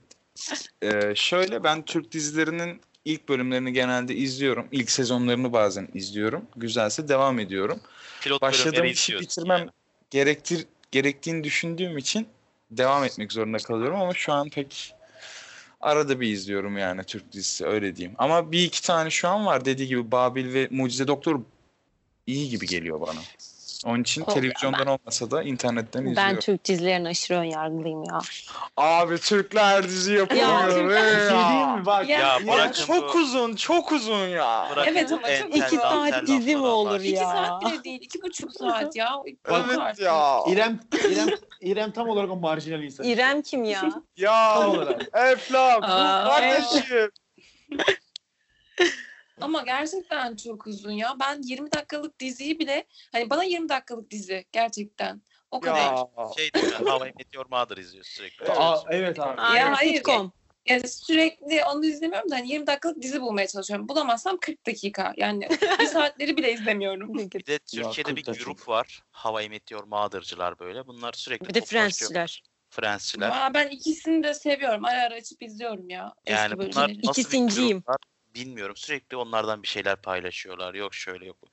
[SPEAKER 5] e, şöyle ben Türk dizilerinin ilk bölümlerini genelde izliyorum. İlk sezonlarını bazen izliyorum. Güzelse devam ediyorum.
[SPEAKER 6] Pilot
[SPEAKER 5] Başladığım
[SPEAKER 6] bölümleri
[SPEAKER 5] işi
[SPEAKER 6] izliyorsun
[SPEAKER 5] bitirmem
[SPEAKER 6] yani.
[SPEAKER 5] gerektir gerektiğini düşündüğüm için devam etmek zorunda kalıyorum ama şu an pek arada bir izliyorum yani Türk dizisi öyle diyeyim. Ama bir iki tane şu an var dediği gibi Babil ve Mucize Doktor iyi gibi geliyor bana. Onun için
[SPEAKER 2] Yok ya,
[SPEAKER 5] televizyondan olmasa da internetten izliyorum.
[SPEAKER 2] Ben Türk dizilerine aşırı önyargılıyım ya.
[SPEAKER 5] Abi Türkler dizi yapıyor.
[SPEAKER 2] Türkler-
[SPEAKER 5] Ya,
[SPEAKER 3] Bir şey diyeyim mi? Bak
[SPEAKER 4] Ya,
[SPEAKER 6] Ya
[SPEAKER 4] Ya
[SPEAKER 5] Ya
[SPEAKER 6] bırakın
[SPEAKER 5] çok
[SPEAKER 6] bu.
[SPEAKER 5] uzun, çok uzun ya.
[SPEAKER 6] Bırakın
[SPEAKER 4] Evet ama
[SPEAKER 6] en
[SPEAKER 4] çok-
[SPEAKER 6] tel-
[SPEAKER 4] İki
[SPEAKER 6] dantel
[SPEAKER 2] saat dizi mi
[SPEAKER 6] laflara
[SPEAKER 2] olur
[SPEAKER 6] bak.
[SPEAKER 2] ya?
[SPEAKER 4] İki saat bile değil. iki buçuk saat ya. Bak
[SPEAKER 5] Evet
[SPEAKER 4] artık.
[SPEAKER 5] ya.
[SPEAKER 3] İrem, İrem, İrem tam olarak o marjinal insan. işte.
[SPEAKER 2] İrem kim ya?
[SPEAKER 5] Ya.
[SPEAKER 3] Tam olarak.
[SPEAKER 5] Eflam.
[SPEAKER 4] Aa.
[SPEAKER 5] Kardeşim.
[SPEAKER 4] Ama gerçekten çok uzun ya. Ben 20 dakikalık diziyi bile hani bana 20 dakikalık dizi gerçekten. O kadar.
[SPEAKER 5] Ya.
[SPEAKER 6] Şey değil mi? How I Met Your Mother izliyorsun sürekli.
[SPEAKER 3] Aa, evet abi.
[SPEAKER 2] Aa,
[SPEAKER 4] Ya hayır.
[SPEAKER 2] sitcom.
[SPEAKER 4] Yani sürekli onu izlemiyorum da hani 20 dakikalık dizi bulmaya çalışıyorum. Bulamazsam 40 dakika. Yani bir saatleri bile izlemiyorum.
[SPEAKER 6] Bir de Türkiye'de bir
[SPEAKER 3] kırk dakika.
[SPEAKER 6] grup var. How I Met Your Mother'cılar böyle. Bunlar sürekli
[SPEAKER 2] Bir de
[SPEAKER 6] toplaşıyor.
[SPEAKER 2] Friends'çiler.
[SPEAKER 6] Fransızlar.
[SPEAKER 4] Aa, ben ikisini de seviyorum. Ara ara açıp izliyorum ya. eski
[SPEAKER 6] Yani bunlar
[SPEAKER 4] bölümleri.
[SPEAKER 6] nasıl
[SPEAKER 2] İkisinciyim.
[SPEAKER 6] bitiriyorlar bilmiyorum. Sürekli onlardan bir şeyler paylaşıyorlar. Yok şöyle yok. bu.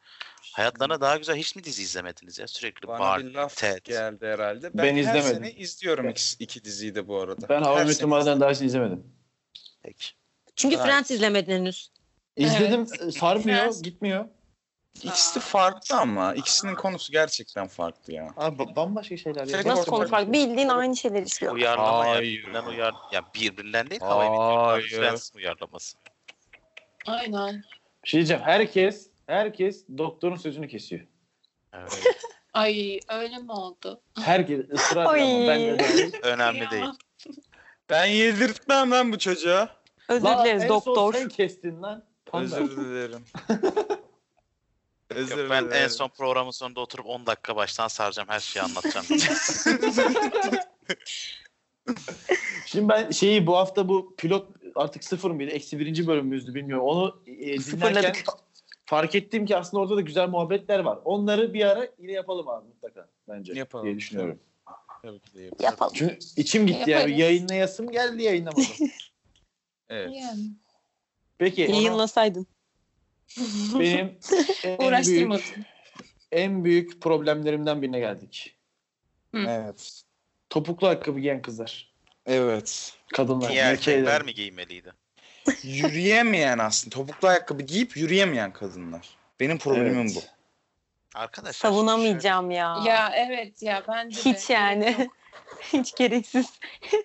[SPEAKER 6] Hayatlarına daha güzel hiç mi dizi izlemediniz ya? Sürekli
[SPEAKER 5] Bana
[SPEAKER 6] bar,
[SPEAKER 5] bir laf
[SPEAKER 6] TED.
[SPEAKER 5] geldi herhalde. Ben,
[SPEAKER 3] Ben
[SPEAKER 5] her
[SPEAKER 3] izlemedim.
[SPEAKER 5] sene izliyorum iki, iki diziyi de bu arada.
[SPEAKER 3] Ben Hava
[SPEAKER 5] Her
[SPEAKER 3] Metin
[SPEAKER 5] sene.
[SPEAKER 3] Mar'dan daha önce izlemedim.
[SPEAKER 6] Peki.
[SPEAKER 2] Çünkü
[SPEAKER 5] Evet.
[SPEAKER 2] Friends izlemedin henüz.
[SPEAKER 3] İzledim sarmıyor,
[SPEAKER 4] Prens.
[SPEAKER 3] gitmiyor.
[SPEAKER 5] İkisi de farklı ama ikisinin konusu gerçekten farklı ya.
[SPEAKER 3] Abi ba- bambaşka şeyler.
[SPEAKER 5] Tek
[SPEAKER 3] ya.
[SPEAKER 2] Nasıl
[SPEAKER 5] ortak-
[SPEAKER 2] konu farklı? Bildiğin aynı şeyler işliyor.
[SPEAKER 6] Uyarlama ya.
[SPEAKER 5] Hayır.
[SPEAKER 6] Birbirinden uyar... Ya birbirinden değil. Havayı bitiriyorlar.
[SPEAKER 5] Hayır.
[SPEAKER 6] Fransız uyarlaması.
[SPEAKER 4] Aynen.
[SPEAKER 3] Bir şey diyeceğim. Herkes herkes doktorun sözünü kesiyor.
[SPEAKER 6] Evet.
[SPEAKER 4] Ay öyle mi oldu?
[SPEAKER 3] Herkes ısrar
[SPEAKER 2] Ay.
[SPEAKER 3] ama ben de
[SPEAKER 6] Önemli değil.
[SPEAKER 4] Kıyamam.
[SPEAKER 5] Ben yedirtmem lan bu çocuğa.
[SPEAKER 2] Özür
[SPEAKER 3] Lan
[SPEAKER 2] dileriz
[SPEAKER 3] en
[SPEAKER 2] doktor.
[SPEAKER 3] son sen kestin lan. Panda.
[SPEAKER 5] Özür dilerim. Özür
[SPEAKER 6] Yok, ben en
[SPEAKER 5] dilerim.
[SPEAKER 6] son programın sonunda oturup 10 dakika baştan saracağım. Her şeyi anlatacağım.
[SPEAKER 3] Şimdi ben şeyi bu hafta bu pilot artık sıfır mıydı? Eksi birinci bölüm müydü bilmiyorum. Onu e, dinlerken
[SPEAKER 2] Sıfırladık.
[SPEAKER 3] fark ettim ki aslında orada da güzel muhabbetler var. Onları bir ara yine yapalım abi mutlaka bence
[SPEAKER 5] Yapalım.
[SPEAKER 3] diye düşünüyorum.
[SPEAKER 5] Tabii ki de yapıyorum.
[SPEAKER 2] Yapalım.
[SPEAKER 3] Çünkü içim gitti yani.
[SPEAKER 4] Yaparız.
[SPEAKER 3] Yayınlayasım geldi yayınlamadım.
[SPEAKER 5] Evet.
[SPEAKER 4] Yani.
[SPEAKER 3] Peki onu
[SPEAKER 2] Yayınlasaydın.
[SPEAKER 3] benim en büyük,
[SPEAKER 4] Uğraştırmadım.
[SPEAKER 3] en büyük problemlerimden birine geldik.
[SPEAKER 5] Evet.
[SPEAKER 3] Topuklu ayakkabı giyen kızlar.
[SPEAKER 5] Evet.
[SPEAKER 3] Kadınlar.
[SPEAKER 6] İyi
[SPEAKER 3] erkekler
[SPEAKER 6] erkekler mi giymeliydi?
[SPEAKER 5] Yürüyemeyen aslında. Topuklu ayakkabı giyip yürüyemeyen kadınlar. Benim problemim
[SPEAKER 3] Evet.
[SPEAKER 5] bu.
[SPEAKER 6] Arkadaşlar.
[SPEAKER 2] Savunamayacağım ya.
[SPEAKER 4] Ya evet ya bence de.
[SPEAKER 2] Hiç yani. Hiç gereksiz.
[SPEAKER 6] şöyle,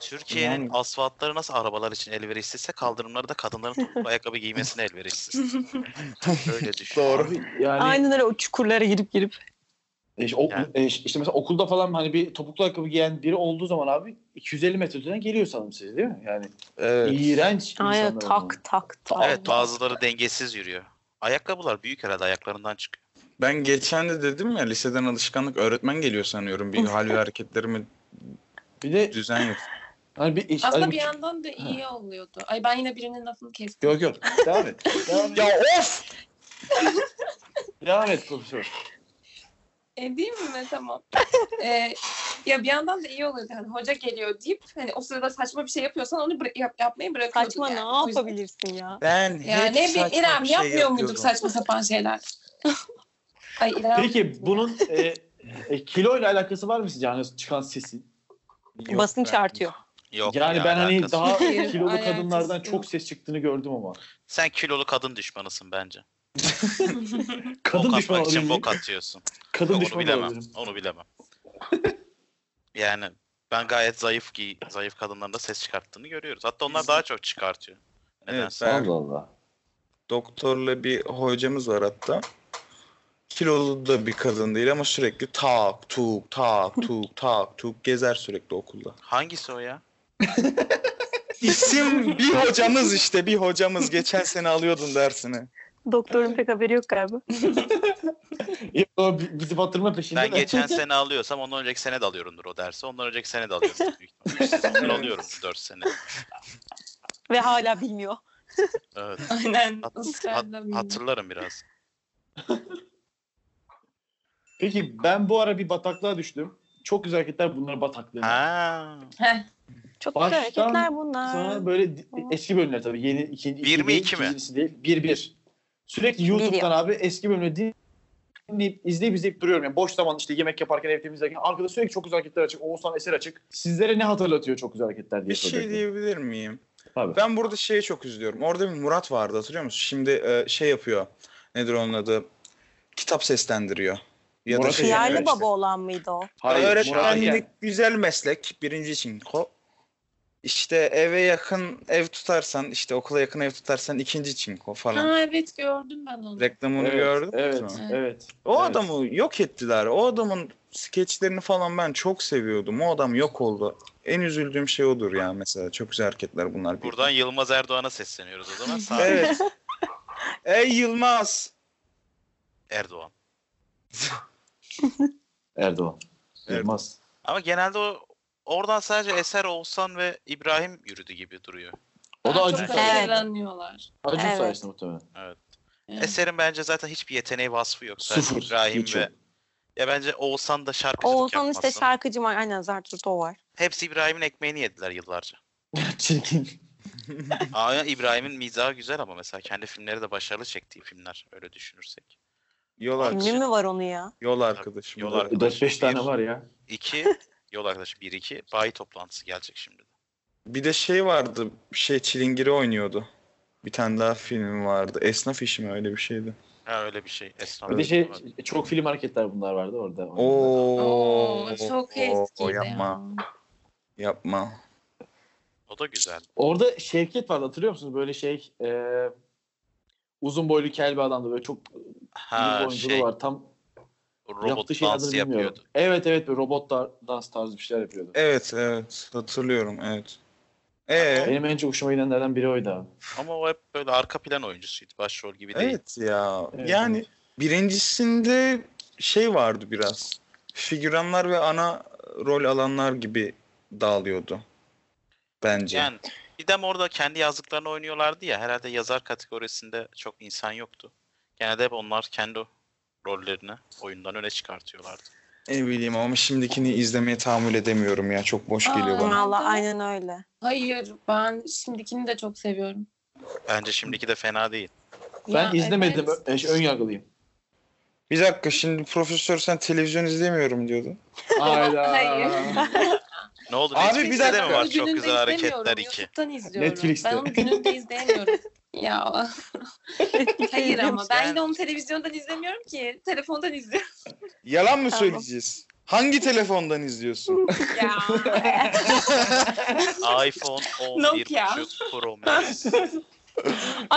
[SPEAKER 6] Türkiye'nin
[SPEAKER 5] Yani-
[SPEAKER 6] asfaltları nasıl arabalar için elverişsizse kaldırımları da kadınların topuklu ayakkabı giymesine elverişsiz. Öyle düşün.
[SPEAKER 5] Doğru.
[SPEAKER 3] Yani
[SPEAKER 2] Aynen öyle o çukurlara girip girip.
[SPEAKER 3] E, işte, ok-
[SPEAKER 6] Yani.
[SPEAKER 3] e, işte mesela okulda falan hani bir topuklu ayakkabı giyen biri olduğu zaman abi 250 metre öteden geliyor sanırım siz değil mi? Yani
[SPEAKER 5] Evet.
[SPEAKER 3] iğrenç
[SPEAKER 2] Aynen
[SPEAKER 3] insanlar onlar.
[SPEAKER 2] tak tak tak.
[SPEAKER 6] Evet bazıları dengesiz yürüyor. Ayakkabılar büyük herhalde ayaklarından çıkıyor.
[SPEAKER 5] Ben geçen de dedim ya liseden alışkanlık öğretmen geliyor sanıyorum. Bir hal ve hareketlerimi
[SPEAKER 3] Bir de
[SPEAKER 5] düzen yok.
[SPEAKER 3] hani bir iş,
[SPEAKER 4] Aslında
[SPEAKER 3] hani
[SPEAKER 4] bir yandan da iyi oluyordu. Ay ben yine birinin lafını kestim.
[SPEAKER 3] Yok yok. Devam et. Devam et.
[SPEAKER 5] Ya of!
[SPEAKER 3] Devam et profesör.
[SPEAKER 4] E değil mi? Tamam. E, ya bir yandan da iyi oluyordu. Hani hoca geliyor deyip hani o sırada saçma bir şey yapıyorsan onu bıra- yap- yapmayı bırakıyordun.
[SPEAKER 2] Saçma
[SPEAKER 4] yani. O
[SPEAKER 2] ne
[SPEAKER 4] yüzden-
[SPEAKER 2] yapabilirsin ya?
[SPEAKER 5] Ben
[SPEAKER 4] Ya
[SPEAKER 5] hep
[SPEAKER 4] ne
[SPEAKER 5] saçma
[SPEAKER 4] bileyim İrem
[SPEAKER 5] bir şey
[SPEAKER 4] yapmıyor muyduk
[SPEAKER 5] yapıyordum.
[SPEAKER 4] saçma sapan şeyler? Ay İrem.
[SPEAKER 3] Peki bunun e, e, kilo ile alakası var mı sizce yani çıkan sesin?
[SPEAKER 5] Yok
[SPEAKER 2] Basınç
[SPEAKER 5] be.
[SPEAKER 2] artıyor.
[SPEAKER 6] Yok
[SPEAKER 3] yani
[SPEAKER 6] ne
[SPEAKER 3] ben hani
[SPEAKER 6] alakası var?
[SPEAKER 3] daha
[SPEAKER 4] Hayır,
[SPEAKER 3] kilolu
[SPEAKER 4] alakası
[SPEAKER 3] kadınlardan
[SPEAKER 4] yok.
[SPEAKER 3] çok ses çıktığını gördüm ama.
[SPEAKER 6] Sen kilolu kadın düşmanısın bence.
[SPEAKER 3] Kadın
[SPEAKER 6] bok
[SPEAKER 3] düşmanı
[SPEAKER 6] atmak için
[SPEAKER 3] olabilir.
[SPEAKER 6] bok atıyorsun.
[SPEAKER 3] Kadın
[SPEAKER 6] onu
[SPEAKER 3] düşmanı
[SPEAKER 6] bilemem.
[SPEAKER 3] olabilir.
[SPEAKER 6] Onu bilemem. yani ben gayet zayıf ki zayıf kadınların da ses çıkarttığını görüyoruz. Hatta onlar daha çok çıkartıyor. Nedense.
[SPEAKER 5] ben-
[SPEAKER 3] Allah Allah.
[SPEAKER 5] Doktorla bir hocamız var hatta. Kilolu da bir kadın değil ama sürekli tak tuk tak tuk tak tuk gezer sürekli okulda.
[SPEAKER 6] Hangisi o ya?
[SPEAKER 5] İsim bir hocamız işte bir hocamız geçen sene alıyordun dersini.
[SPEAKER 2] Doktorun pek haberi yok galiba.
[SPEAKER 3] Ya, o bi- bizi batırma peşinde.
[SPEAKER 6] Ben
[SPEAKER 3] de.
[SPEAKER 6] geçen sene alıyorsam ondan önceki sene de alıyorumdur o dersi. Ondan önceki sene de alıyorum. büyük ihtimalle. Ben alıyorum 4 sene.
[SPEAKER 2] Ve hala bilmiyor.
[SPEAKER 6] Evet.
[SPEAKER 4] Aynen.
[SPEAKER 6] Hat-
[SPEAKER 4] ısrarla
[SPEAKER 6] hat-
[SPEAKER 4] bilmiyorum.
[SPEAKER 6] hatırlarım biraz.
[SPEAKER 3] Peki ben bu ara bir bataklığa düştüm. Çok güzel hareketler bunlar bataklığına.
[SPEAKER 6] Ha.
[SPEAKER 4] Heh,
[SPEAKER 2] Çok
[SPEAKER 3] Baştan
[SPEAKER 2] güzel hareketler bunlar.
[SPEAKER 3] Sonra böyle di- eski bölümler tabii yeni ikinci
[SPEAKER 6] Bir mi,
[SPEAKER 3] değil,
[SPEAKER 6] iki mi?
[SPEAKER 3] ikincisi değil. Bir bir. Sürekli YouTube'dan abi eski bölümleri dinleyip izleyip izleyip duruyorum. Yani boş zaman işte yemek yaparken ev temizlerken arkada sürekli çok güzel hareketler açık. Oğuzhan Eser açık. Sizlere ne hatırlatıyor çok güzel hareketler diye
[SPEAKER 5] Bir şey
[SPEAKER 3] soracaktım.
[SPEAKER 5] diyebilir miyim?
[SPEAKER 3] Tabii.
[SPEAKER 5] Ben burada şeye çok üzülüyorum. Orada bir Murat vardı hatırlıyor musun? Şimdi e, şey yapıyor. Nedir onun adı? Kitap seslendiriyor. Ya
[SPEAKER 3] Murat
[SPEAKER 5] da şey
[SPEAKER 2] Hıyarlı
[SPEAKER 5] yapıyor işte.
[SPEAKER 2] baba olan mıydı o?
[SPEAKER 3] Hayır, Murat
[SPEAKER 5] Öğretmenlik
[SPEAKER 3] Yer.
[SPEAKER 5] güzel meslek. Birinci için ko. İşte eve yakın ev tutarsan, işte okula yakın ev tutarsan ikinci çinko falan.
[SPEAKER 4] Ha, evet gördüm ben onu.
[SPEAKER 5] Reklamını
[SPEAKER 3] Evet,
[SPEAKER 5] gördün
[SPEAKER 3] evet,
[SPEAKER 5] mü?
[SPEAKER 3] evet.
[SPEAKER 5] O
[SPEAKER 3] evet.
[SPEAKER 5] adamı yok ettiler. O adamın skeçlerini falan ben çok seviyordum. O adam yok oldu. En üzüldüğüm şey odur ya mesela. Çok güzel hareketler bunlar.
[SPEAKER 6] Buradan Yılmaz Erdoğan'a sesleniyoruz o zaman. Sağ
[SPEAKER 5] Evet. Ey Yılmaz.
[SPEAKER 6] Erdoğan.
[SPEAKER 3] Erdoğan. Yılmaz.
[SPEAKER 6] Ama genelde o oradan sadece Eser Oğuzhan ve İbrahim yürüdü gibi duruyor.
[SPEAKER 3] O da
[SPEAKER 4] Çok
[SPEAKER 3] acı,
[SPEAKER 4] da
[SPEAKER 2] Evet.
[SPEAKER 4] eğleniyorlar.
[SPEAKER 3] acı
[SPEAKER 2] Evet.
[SPEAKER 3] sayesinde muhtemelen.
[SPEAKER 4] Evet.
[SPEAKER 6] Eser'in bence zaten hiçbir yeteneği vasfı yok. Sadece
[SPEAKER 3] Sıfır.
[SPEAKER 6] İbrahim
[SPEAKER 3] Hiç
[SPEAKER 6] ve
[SPEAKER 3] yok.
[SPEAKER 6] Ya bence Oğuzhan da şarkıcılık
[SPEAKER 2] Oğuzhan
[SPEAKER 6] yapmasın.
[SPEAKER 2] işte şarkıcı var. Aynen Zartürk o var.
[SPEAKER 6] Hepsi İbrahim'in ekmeğini yediler yıllarca.
[SPEAKER 3] Çirkin.
[SPEAKER 6] Aa, İbrahim'in mizahı güzel ama mesela kendi filmleri de başarılı çektiği filmler öyle düşünürsek.
[SPEAKER 5] Yol,
[SPEAKER 6] Bak
[SPEAKER 5] ar-
[SPEAKER 2] Ünlü
[SPEAKER 6] şimdi.
[SPEAKER 2] mü var onu ya?
[SPEAKER 5] yol arkadaşım.
[SPEAKER 6] Yol arkadaşım.
[SPEAKER 3] 4-5
[SPEAKER 6] Bir.
[SPEAKER 3] tane var ya.
[SPEAKER 6] İki, yol arkadaşı 1-2, bayi toplantısı gelecek şimdi.
[SPEAKER 5] Bir de şey vardı. Şey Çilingiri oynuyordu. Bir tane daha film vardı. Esnaf işi mi öyle bir şeydi.
[SPEAKER 6] Ha öyle bir şey. Esnaf
[SPEAKER 3] Bir de şey
[SPEAKER 6] var.
[SPEAKER 3] çok film hareketler bunlar vardı orada.
[SPEAKER 5] Oo,
[SPEAKER 4] Oo, çok
[SPEAKER 5] oo,
[SPEAKER 4] eskiydi
[SPEAKER 5] yapma. Yapma.
[SPEAKER 6] O da güzel.
[SPEAKER 3] Orada Şevket vardı hatırlıyor musunuz? Böyle şey e, uzun boylu kel bir adamdı. Böyle çok
[SPEAKER 6] Ha
[SPEAKER 3] bir
[SPEAKER 6] şey,
[SPEAKER 3] şey, var. Tam yaptığı
[SPEAKER 6] robot
[SPEAKER 3] şeyin
[SPEAKER 6] dansı
[SPEAKER 3] adını bilmiyorum.
[SPEAKER 6] yapıyordu.
[SPEAKER 3] Evet evet böyle robot da- dans tarzı bir şeyler yapıyordu.
[SPEAKER 5] Evet evet hatırlıyorum evet. Ee,
[SPEAKER 3] Benim en çok hoşuma gidenlerden biri oydu abi.
[SPEAKER 6] Ama o hep böyle arka plan oyuncusuydu. Başrol gibi değil.
[SPEAKER 5] evet ya
[SPEAKER 3] Evet,
[SPEAKER 5] yani
[SPEAKER 3] evet.
[SPEAKER 5] birincisinde şey vardı biraz figüranlar ve ana rol alanlar gibi dağılıyordu bence.
[SPEAKER 6] Yani bir de orada kendi yazdıklarını oynuyorlardı ya. Herhalde yazar kategorisinde çok insan yoktu. Genelde hep onlar kendi rollerini oyundan öne çıkartıyorlardı.
[SPEAKER 5] Ne bileyim ama şimdikini izlemeye tahammül edemiyorum ya çok boş geliyor
[SPEAKER 4] Aa.
[SPEAKER 5] bana.
[SPEAKER 2] Valla
[SPEAKER 4] Tamam.
[SPEAKER 2] aynen öyle.
[SPEAKER 4] Hayır ben şimdikini de çok seviyorum.
[SPEAKER 6] Bence şimdiki de fena değil.
[SPEAKER 3] Ben
[SPEAKER 4] Ya,
[SPEAKER 3] izlemedim.
[SPEAKER 4] evet.
[SPEAKER 3] ö- Ön yargılıyım.
[SPEAKER 5] Bir dakika şimdi profesör sen televizyon izlemiyorum diyordun.
[SPEAKER 3] Hayda.
[SPEAKER 4] Hayır.
[SPEAKER 6] Ne oldu?
[SPEAKER 5] Abi
[SPEAKER 6] Netflix'te
[SPEAKER 5] bir
[SPEAKER 6] de
[SPEAKER 5] dakika.
[SPEAKER 6] mi var çok
[SPEAKER 4] Gününde
[SPEAKER 6] güzel hareketler
[SPEAKER 4] izlemiyorum,
[SPEAKER 6] 2?
[SPEAKER 4] YouTube'dan izliyorum.
[SPEAKER 3] Netflix'te.
[SPEAKER 4] Ben onu gününde izleyemiyorum. ya hayır ama ben de onu televizyondan izlemiyorum ki. Telefondan izliyorum.
[SPEAKER 5] Yalan mı
[SPEAKER 2] Tamam.
[SPEAKER 5] söyleyeceğiz? Hangi telefondan izliyorsun?
[SPEAKER 4] ya.
[SPEAKER 6] iPhone 11
[SPEAKER 4] Nokia.
[SPEAKER 6] buçuk Pro Max.
[SPEAKER 2] Abi bir şey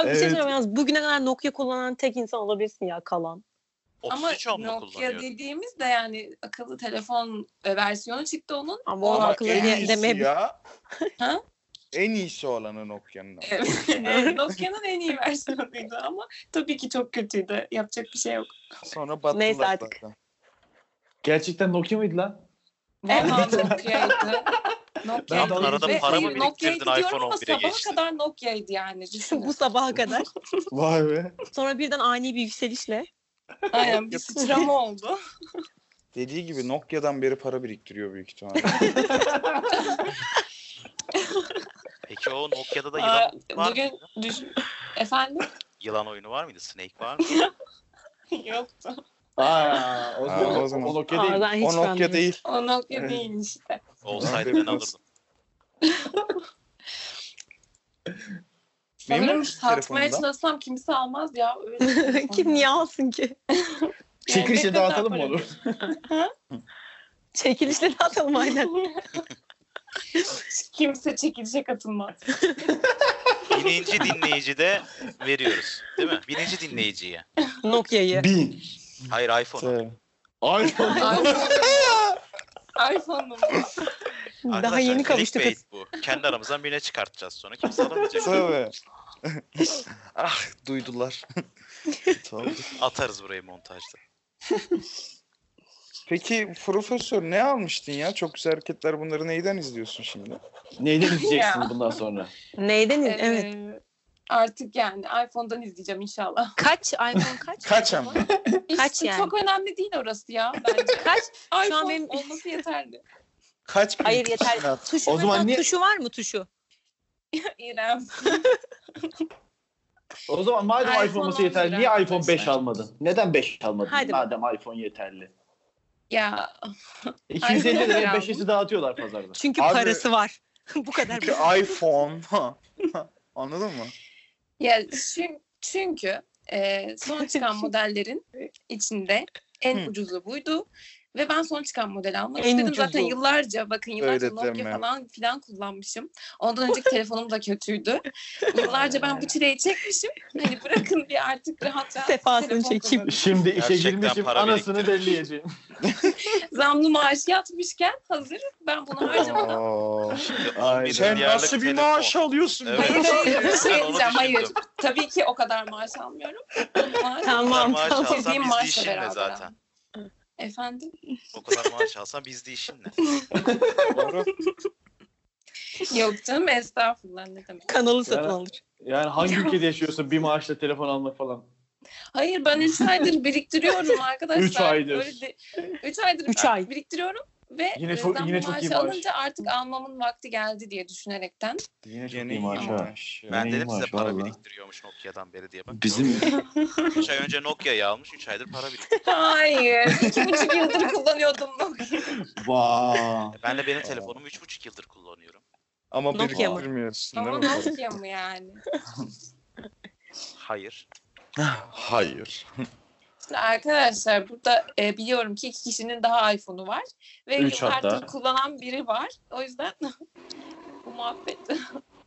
[SPEAKER 5] Evet.
[SPEAKER 2] söyleyeyim yalnız bugüne kadar Nokia kullanan tek insan olabilirsin ya kalan.
[SPEAKER 4] ama
[SPEAKER 6] 33 on mu
[SPEAKER 4] Nokia
[SPEAKER 6] kullanıyor?
[SPEAKER 4] dediğimiz de yani akıllı telefon e, versiyonu çıktı onun.
[SPEAKER 2] Ama o
[SPEAKER 4] Ama
[SPEAKER 2] akıllı diye demeye
[SPEAKER 5] ya.
[SPEAKER 4] Ha?
[SPEAKER 5] En iyisi olanı Nokia'nın. ama.
[SPEAKER 4] Evet, evet, E, Nokia'nın en iyi versiyonuydu ama tabii ki çok kötüydü. Yapacak bir şey yok.
[SPEAKER 5] Sonra battılar
[SPEAKER 2] Neyse artık.
[SPEAKER 5] zaten.
[SPEAKER 3] Gerçekten Nokia mıydı lan?
[SPEAKER 4] Valla Nokia'ydı. Nokia'ydı.
[SPEAKER 3] Ben arada
[SPEAKER 6] para mı
[SPEAKER 4] hayır,
[SPEAKER 6] biriktirdin,
[SPEAKER 4] Nokia'ydı diyorum
[SPEAKER 6] iPhone
[SPEAKER 4] ama
[SPEAKER 6] 11'e
[SPEAKER 4] sabaha
[SPEAKER 6] geçtin.
[SPEAKER 4] kadar Nokia'ydı yani. düşünün.
[SPEAKER 2] bu sabaha kadar.
[SPEAKER 3] Vay be.
[SPEAKER 2] Sonra birden ani bir yükselişle.
[SPEAKER 4] Aynen bir sıçrama oldu.
[SPEAKER 5] Dediği gibi Nokia'dan beri para biriktiriyor büyük ihtimalle.
[SPEAKER 6] Peki o Nokia'da da
[SPEAKER 4] Aa,
[SPEAKER 6] yılan, var
[SPEAKER 4] Bugün düşün... Efendim?
[SPEAKER 6] yılan oyunu var mıydı? Snake var mı?
[SPEAKER 4] Yoktu.
[SPEAKER 3] Aa, o zaman,
[SPEAKER 5] Aa, o
[SPEAKER 3] o
[SPEAKER 5] zaman.
[SPEAKER 3] Nokia değil.
[SPEAKER 2] Aa, ben hiç
[SPEAKER 5] o Nokia
[SPEAKER 2] beğenmedim.
[SPEAKER 5] değil.
[SPEAKER 4] O Nokia
[SPEAKER 3] Evet.
[SPEAKER 4] değil işte.
[SPEAKER 6] Olsaydı ben alırdım.
[SPEAKER 5] Memnun
[SPEAKER 4] Sanırım
[SPEAKER 5] musun
[SPEAKER 4] satmaya
[SPEAKER 5] telefonundan?
[SPEAKER 4] çalışsam kimse almaz ya. Öyle
[SPEAKER 2] Kim niye alsın ki?
[SPEAKER 4] Yani ne
[SPEAKER 3] Çekilişe
[SPEAKER 4] kadar
[SPEAKER 3] dağıtalım mı
[SPEAKER 4] para
[SPEAKER 3] onu?
[SPEAKER 2] Çekilişle de atalım aynen.
[SPEAKER 4] Kimse çekilişe katılmaz.
[SPEAKER 6] Birinci dinleyici de veriyoruz. Değil mi? Birinci dinleyiciye.
[SPEAKER 2] Nokia'yı.
[SPEAKER 3] Bin.
[SPEAKER 6] Hayır iPhone.
[SPEAKER 3] Ay.
[SPEAKER 4] iPhone numara.
[SPEAKER 2] Daha yeni kavuştuk.
[SPEAKER 6] clickbait bu. Kendi aramızdan birine çıkartacağız sonra. Kimse alamayacak.
[SPEAKER 5] Tabii. ah duydular. Tabii.
[SPEAKER 6] Atarız burayı montajda.
[SPEAKER 5] Peki profesör ne almıştın ya? Çok güzel hareketler bunları neyden izliyorsun şimdi?
[SPEAKER 3] Neyden izleyeceksin
[SPEAKER 4] Ya.
[SPEAKER 3] bundan sonra?
[SPEAKER 2] Neyden? iz- evet.
[SPEAKER 4] Ee, Artık yani iPhone'dan izleyeceğim inşallah.
[SPEAKER 2] Kaç? iPhone kaç?
[SPEAKER 5] Kaç ama?
[SPEAKER 2] Kaç
[SPEAKER 4] İşte
[SPEAKER 2] yani?
[SPEAKER 4] Çok önemli değil orası ya bence.
[SPEAKER 2] Kaç?
[SPEAKER 4] iPhone
[SPEAKER 2] an benim-
[SPEAKER 4] olması yeterli.
[SPEAKER 5] Kaç bin
[SPEAKER 2] Hayır yeter.
[SPEAKER 5] kaçınat?
[SPEAKER 2] Tuşu
[SPEAKER 3] O zaman
[SPEAKER 2] mesela
[SPEAKER 3] niye-
[SPEAKER 2] tuşu var mı tuşu?
[SPEAKER 4] İrem.
[SPEAKER 3] O zaman madem
[SPEAKER 4] iPhone
[SPEAKER 3] iPhone, olması
[SPEAKER 4] 11
[SPEAKER 3] yeterli niye
[SPEAKER 4] arkadaşlar.
[SPEAKER 3] iPhone 5 almadın? Neden 5 almadın?
[SPEAKER 2] Hadi
[SPEAKER 3] madem iPhone yeterli.
[SPEAKER 4] Ya
[SPEAKER 3] 250
[SPEAKER 4] 11
[SPEAKER 3] liraya
[SPEAKER 4] aldım.
[SPEAKER 3] 5'isi dağıtıyorlar pazarda.
[SPEAKER 2] Çünkü
[SPEAKER 5] Abi-
[SPEAKER 2] parası var. Bu kadar.
[SPEAKER 5] Çünkü iPhone. Anladın mı?
[SPEAKER 4] Ya çünkü, çünkü e, son çıkan modellerin içinde en
[SPEAKER 5] Hı.
[SPEAKER 4] ucuzu buydu. Ve ben son çıkan modeli almak
[SPEAKER 2] En
[SPEAKER 4] istedim.
[SPEAKER 2] ucuzu.
[SPEAKER 4] Zaten yıllarca bakın yıllarca
[SPEAKER 5] Öyle
[SPEAKER 4] Nokia
[SPEAKER 5] deme.
[SPEAKER 4] falan filan kullanmışım. Ondan önceki telefonum da kötüydü. Yıllarca ben bu çileyi çekmişim. Hani bırakın bir artık rahat rahat
[SPEAKER 2] Sefasını
[SPEAKER 4] telefon
[SPEAKER 2] çekeyim.
[SPEAKER 4] kullanın.
[SPEAKER 3] Şimdi işe
[SPEAKER 6] Gerçekten
[SPEAKER 3] girmişim
[SPEAKER 6] para
[SPEAKER 3] anasını
[SPEAKER 6] biriktirmiş.
[SPEAKER 3] belleyeceğim.
[SPEAKER 4] Zamlı maaş yatmışken hazır ben bunu harcamadan.
[SPEAKER 5] Oo.
[SPEAKER 3] Aynen.
[SPEAKER 5] Sen
[SPEAKER 6] Milyarlık
[SPEAKER 5] nasıl bir
[SPEAKER 6] telefon.
[SPEAKER 5] maaş alıyorsun?
[SPEAKER 6] Evet.
[SPEAKER 4] Hayır hayır bir şey
[SPEAKER 6] Ben onu
[SPEAKER 4] diyeceğim hayır.
[SPEAKER 6] düşündüm.
[SPEAKER 4] Tabii ki o kadar maaş almıyorum. Maaş,
[SPEAKER 6] Tamam,
[SPEAKER 2] Tamam
[SPEAKER 6] maaş
[SPEAKER 2] tamam.
[SPEAKER 6] alsan
[SPEAKER 4] istediğim
[SPEAKER 6] biz de
[SPEAKER 4] maaşla
[SPEAKER 6] işinle
[SPEAKER 4] beraber.
[SPEAKER 6] zaten.
[SPEAKER 4] Efendim?
[SPEAKER 6] O kadar maaş alsan biz de işinle.
[SPEAKER 5] Doğru.
[SPEAKER 4] Yok canım estağfurullah ne demek.
[SPEAKER 2] Kanalı satın
[SPEAKER 3] Ya.
[SPEAKER 2] alır.
[SPEAKER 3] Yani hangi ülkede yaşıyorsun bir maaşla telefon almak falan.
[SPEAKER 4] Hayır ben 3 aydır biriktiriyorum arkadaşlar.
[SPEAKER 3] Üç aydır.
[SPEAKER 4] 3 aydır
[SPEAKER 2] Üç ay.
[SPEAKER 4] biriktiriyorum ve
[SPEAKER 3] Yine
[SPEAKER 4] yine
[SPEAKER 3] çok- yine çok iyi
[SPEAKER 4] maaşı
[SPEAKER 3] maaş.
[SPEAKER 4] alınca artık almamın vakti geldi diye düşünerekten.
[SPEAKER 3] Yine çok
[SPEAKER 6] Yeni
[SPEAKER 3] iyi maaş
[SPEAKER 6] ama.
[SPEAKER 3] ha.
[SPEAKER 6] Ben
[SPEAKER 3] Yine iyi
[SPEAKER 6] dedim size
[SPEAKER 3] maaş,
[SPEAKER 6] para
[SPEAKER 3] vallahi.
[SPEAKER 6] biriktiriyormuş Nokia'dan beri diye. Bak,
[SPEAKER 7] Bizim
[SPEAKER 6] 3 ay önce Nokia'yı almış 3 aydır para biriktiriyor.
[SPEAKER 4] Hayır. 2,5 yıldır kullanıyordum Nokia.
[SPEAKER 3] Vaa.
[SPEAKER 6] Ben de benim telefonumu 3,5 yıldır kullanıyorum.
[SPEAKER 5] Ama
[SPEAKER 2] Nokia mı?
[SPEAKER 5] biriktirmiyorsun
[SPEAKER 4] Ama
[SPEAKER 5] değil mi?
[SPEAKER 4] Nokia mı yani?
[SPEAKER 6] Hayır.
[SPEAKER 7] hayır.
[SPEAKER 4] Şimdi arkadaşlar burada e, biliyorum ki iki kişinin daha iPhone'u var. Ve
[SPEAKER 3] Üç hatta.
[SPEAKER 4] yıllardır kullanan biri var. O yüzden bu muhabbet.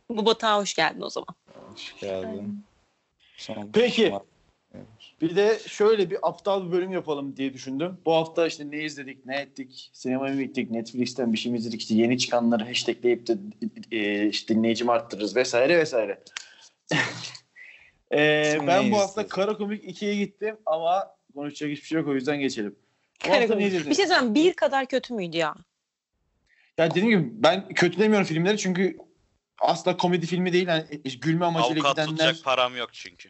[SPEAKER 2] Bu batağa hoş geldin o zaman.
[SPEAKER 5] Hoş geldin. Son-
[SPEAKER 3] Peki. Bir de şöyle bir aptal bir bölüm yapalım diye düşündüm. Bu hafta işte ne izledik, ne ettik, sinemaya mı gittik, Netflix'ten bir şey mi izledik, işte yeni çıkanları hashtagleyip de e, işte dinleyicimi arttırırız vesaire vesaire. E,
[SPEAKER 5] Sen
[SPEAKER 3] ben
[SPEAKER 5] ne
[SPEAKER 3] bu hafta
[SPEAKER 5] izledin?
[SPEAKER 3] Kara Komik 2'ye gittim ama konuşacak hiçbir şey yok o yüzden geçelim. Bu hafta ne izledin?
[SPEAKER 2] bir şey söyleyeyim bir kadar kötü müydü ya?
[SPEAKER 3] Ya dediğim gibi ben kötülemiyorum filmleri çünkü asla komedi filmi değil. Yani e, gülme amacıyla
[SPEAKER 6] Avukat
[SPEAKER 3] gidenler.
[SPEAKER 6] tutacak param yok çünkü.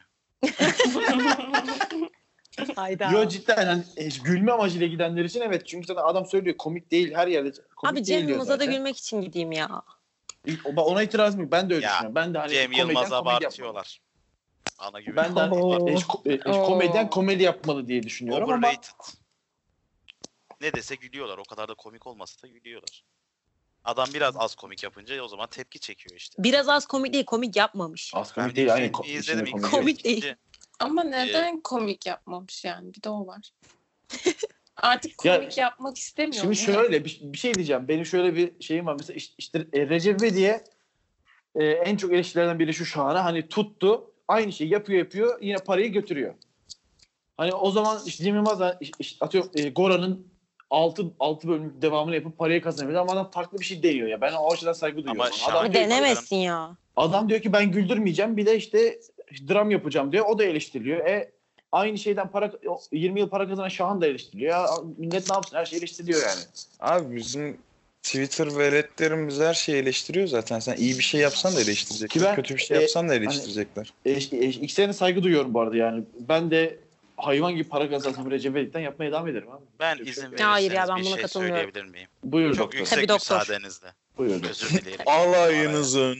[SPEAKER 2] Hayda.
[SPEAKER 3] Yo cidden hani e, gülme amacıyla gidenler için evet çünkü zaten adam söylüyor komik değil her yerde komik
[SPEAKER 2] Abi
[SPEAKER 3] değil
[SPEAKER 2] Cem
[SPEAKER 3] diyor
[SPEAKER 2] Yılmaz'a da
[SPEAKER 3] zaten.
[SPEAKER 2] gülmek için gideyim ya.
[SPEAKER 3] O- ben Ona itiraz mı? Ben de öyle
[SPEAKER 6] Ya,
[SPEAKER 3] düşünüyorum. Ben de hani
[SPEAKER 6] Cem
[SPEAKER 3] komedyen
[SPEAKER 6] Yılmaz'ı
[SPEAKER 3] komedi yapmalı.
[SPEAKER 6] abartıyorlar. Ana
[SPEAKER 3] Ben
[SPEAKER 6] güven.
[SPEAKER 3] de hani, e, eş- e, eş-
[SPEAKER 4] Oo.
[SPEAKER 3] komedyen komedi yapmalı diye düşünüyorum ama
[SPEAKER 6] Overrated. Ne dese gülüyorlar. O kadar da komik olmasa da gülüyorlar. Adam biraz az komik yapınca o zaman tepki çekiyor işte.
[SPEAKER 2] Biraz az komik değil komik yapmamış.
[SPEAKER 3] az
[SPEAKER 6] Ben
[SPEAKER 3] komik değil. Aynen,
[SPEAKER 6] filmi
[SPEAKER 3] ko- içinde
[SPEAKER 6] izledim.
[SPEAKER 3] komedi
[SPEAKER 2] Komik
[SPEAKER 3] yok.
[SPEAKER 6] İkinci-
[SPEAKER 2] değil.
[SPEAKER 4] Ama
[SPEAKER 6] Ee,
[SPEAKER 4] neden komik yapmamış yani? Bir de o var. Artık
[SPEAKER 3] Ya,
[SPEAKER 4] komik yapmak istemiyor.
[SPEAKER 3] Şimdi
[SPEAKER 4] mu?
[SPEAKER 3] şöyle bir, bir şey diyeceğim. Benim şöyle bir şeyim var. Mesela işte, işte e, Recep diye e, en çok eleştirilerden biri şu şahane. Hani tuttu. Aynı şeyi yapıyor yapıyor. Yine parayı götürüyor. Hani o zaman işte Cem Yılmaz da iş- iş- atıyorum e, Gora'nın 6 6 bölüm devamını yapıp parayı kazanabilir ama adam farklı bir şey deniyor ya. Ben o açıdan saygı duyuyorum.
[SPEAKER 6] şahane
[SPEAKER 3] adam,
[SPEAKER 2] Abi
[SPEAKER 6] Abi,
[SPEAKER 2] denemezsin ya.
[SPEAKER 3] adam diyor ki ben güldürmeyeceğim bir de işte dram yapacağım diyor. O da eleştiriliyor. E aynı şeyden para 20 yıl para kazanan Şahan da eleştiriliyor. Ya, millet ne yapsın? Her şey eleştiriliyor yani.
[SPEAKER 5] Abi bizim Twitter veletlerimiz her şeyi eleştiriyor zaten. Sen iyi bir şey yapsan da eleştirecekler.
[SPEAKER 3] Ki ben-
[SPEAKER 5] kötü bir şey
[SPEAKER 3] e,
[SPEAKER 5] yapsan da eleştirecekler.
[SPEAKER 3] E, e, ikisine de saygı duyuyorum bu arada yani. Ben de hayvan gibi para kazansam Recep İvedik'ten yapmaya devam ederim abi.
[SPEAKER 6] Ben
[SPEAKER 3] Çok
[SPEAKER 6] izin
[SPEAKER 3] şey-
[SPEAKER 6] verirseniz
[SPEAKER 2] Hayır ya, ben
[SPEAKER 6] bir
[SPEAKER 2] buna
[SPEAKER 6] şey
[SPEAKER 2] katılmıyorum.
[SPEAKER 6] söyleyebilir miyim?
[SPEAKER 3] Buyur
[SPEAKER 6] Çok
[SPEAKER 3] doktor.
[SPEAKER 6] yüksek
[SPEAKER 2] Tabii doktor.
[SPEAKER 6] müsaadenizle.
[SPEAKER 3] Buyur doktor.
[SPEAKER 6] Özür dilerim.
[SPEAKER 5] Alayınızın.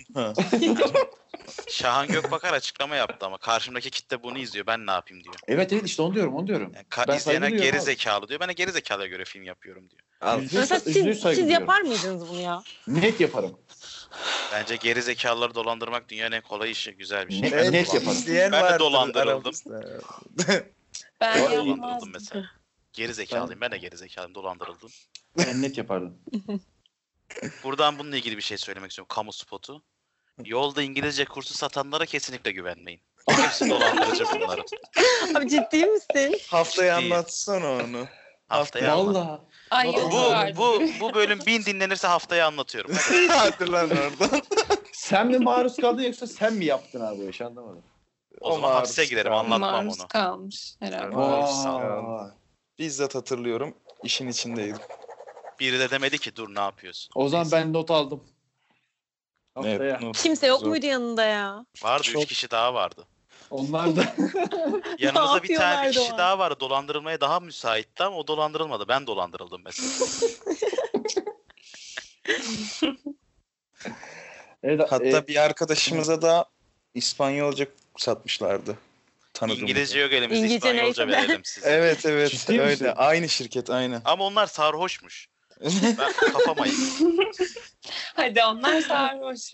[SPEAKER 6] Şahan Gökbakar açıklama yaptı ama karşımdaki kitle bunu izliyor. Ben ne yapayım diyor.
[SPEAKER 3] Evet evet işte onu diyorum onu diyorum.
[SPEAKER 6] Yani ka-
[SPEAKER 3] Ben
[SPEAKER 6] izleyene
[SPEAKER 3] saygı duyuyorum
[SPEAKER 6] geri
[SPEAKER 3] abi.
[SPEAKER 6] zekalı diyor. Ben de geri zekalıya göre film yapıyorum diyor.
[SPEAKER 3] Yüzde yüz-
[SPEAKER 2] Mesela
[SPEAKER 3] yüzde yüz
[SPEAKER 2] siz,
[SPEAKER 3] saygı
[SPEAKER 2] siz
[SPEAKER 3] duyuyorum.
[SPEAKER 2] yapar mıydınız bunu ya?
[SPEAKER 3] Net yaparım.
[SPEAKER 6] Bence geri zekalıları dolandırmak dünyanın en kolay işi. Güzel bir şey.
[SPEAKER 3] Net-
[SPEAKER 6] Ben de
[SPEAKER 3] net
[SPEAKER 6] dolan-
[SPEAKER 3] yaparım.
[SPEAKER 5] İzleyen
[SPEAKER 6] Ben de
[SPEAKER 5] vardır
[SPEAKER 6] dolandırıldım.
[SPEAKER 5] aramızda.
[SPEAKER 4] Ben
[SPEAKER 6] Ben de
[SPEAKER 4] yapmazdım.
[SPEAKER 6] dolandırıldım mesela. Geri zekalıyım. Ben de geri zekalıyım. Dolandırıldım.
[SPEAKER 3] Ben net yapardım.
[SPEAKER 6] Buradan bununla ilgili bir şey söylemek istiyorum. Kamu spotu. Yolda İngilizce kursu satanlara kesinlikle güvenmeyin. Hepsi dolandırıcı bunların.
[SPEAKER 2] Abi ciddi misin?
[SPEAKER 5] Haftaya
[SPEAKER 6] Ciddi.
[SPEAKER 5] anlatsana onu.
[SPEAKER 6] Haftaya anlat.
[SPEAKER 3] Vallahi.
[SPEAKER 4] Ay
[SPEAKER 3] Bu-
[SPEAKER 4] yok
[SPEAKER 6] Bu,
[SPEAKER 4] artık.
[SPEAKER 6] bu, bu bölüm bin dinlenirse haftaya anlatıyorum. Hadi.
[SPEAKER 5] Hadi lan oradan.
[SPEAKER 3] Sen mi maruz kaldın yoksa sen mi yaptın abi? Hiç anlamadım.
[SPEAKER 6] O zaman
[SPEAKER 5] maruz
[SPEAKER 6] hapse giderim
[SPEAKER 5] kaldı.
[SPEAKER 6] anlatmam
[SPEAKER 4] Maruz
[SPEAKER 6] onu.
[SPEAKER 4] kalmış herhalde.
[SPEAKER 6] Maruz
[SPEAKER 3] Aa,
[SPEAKER 5] Bizzat hatırlıyorum. İşin içindeydim.
[SPEAKER 6] Biri de demedi ki dur ne yapıyorsun.
[SPEAKER 3] o zaman ben not aldım. Haftaya.
[SPEAKER 2] Kimse yok
[SPEAKER 5] Zor.
[SPEAKER 2] muydu yanında ya?
[SPEAKER 6] Vardı üç
[SPEAKER 5] Çok-
[SPEAKER 6] kişi daha vardı.
[SPEAKER 3] Onlar da
[SPEAKER 6] Yanımızda bir tane
[SPEAKER 2] yapıyorlardı
[SPEAKER 6] bir kişi
[SPEAKER 2] o an?
[SPEAKER 6] daha vardı. Dolandırılmaya daha müsaitti ama o dolandırılmadı. Ben dolandırıldım mesela.
[SPEAKER 3] evet,
[SPEAKER 5] Hatta
[SPEAKER 3] e,
[SPEAKER 5] bir arkadaşımıza da İspanyolca satmışlardı. Tanıdığımız.
[SPEAKER 6] İngilizce yok elimizde.
[SPEAKER 2] İngilizce
[SPEAKER 6] İspanyolca
[SPEAKER 2] neyse de.
[SPEAKER 6] verelim size.
[SPEAKER 5] Evet evet
[SPEAKER 3] Ciddi
[SPEAKER 5] öyle.
[SPEAKER 3] misin?
[SPEAKER 5] Aynı şirket aynı.
[SPEAKER 6] Ama onlar sarhoşmuş. Ben kafama yedim.
[SPEAKER 4] Hadi onlar sarhoş.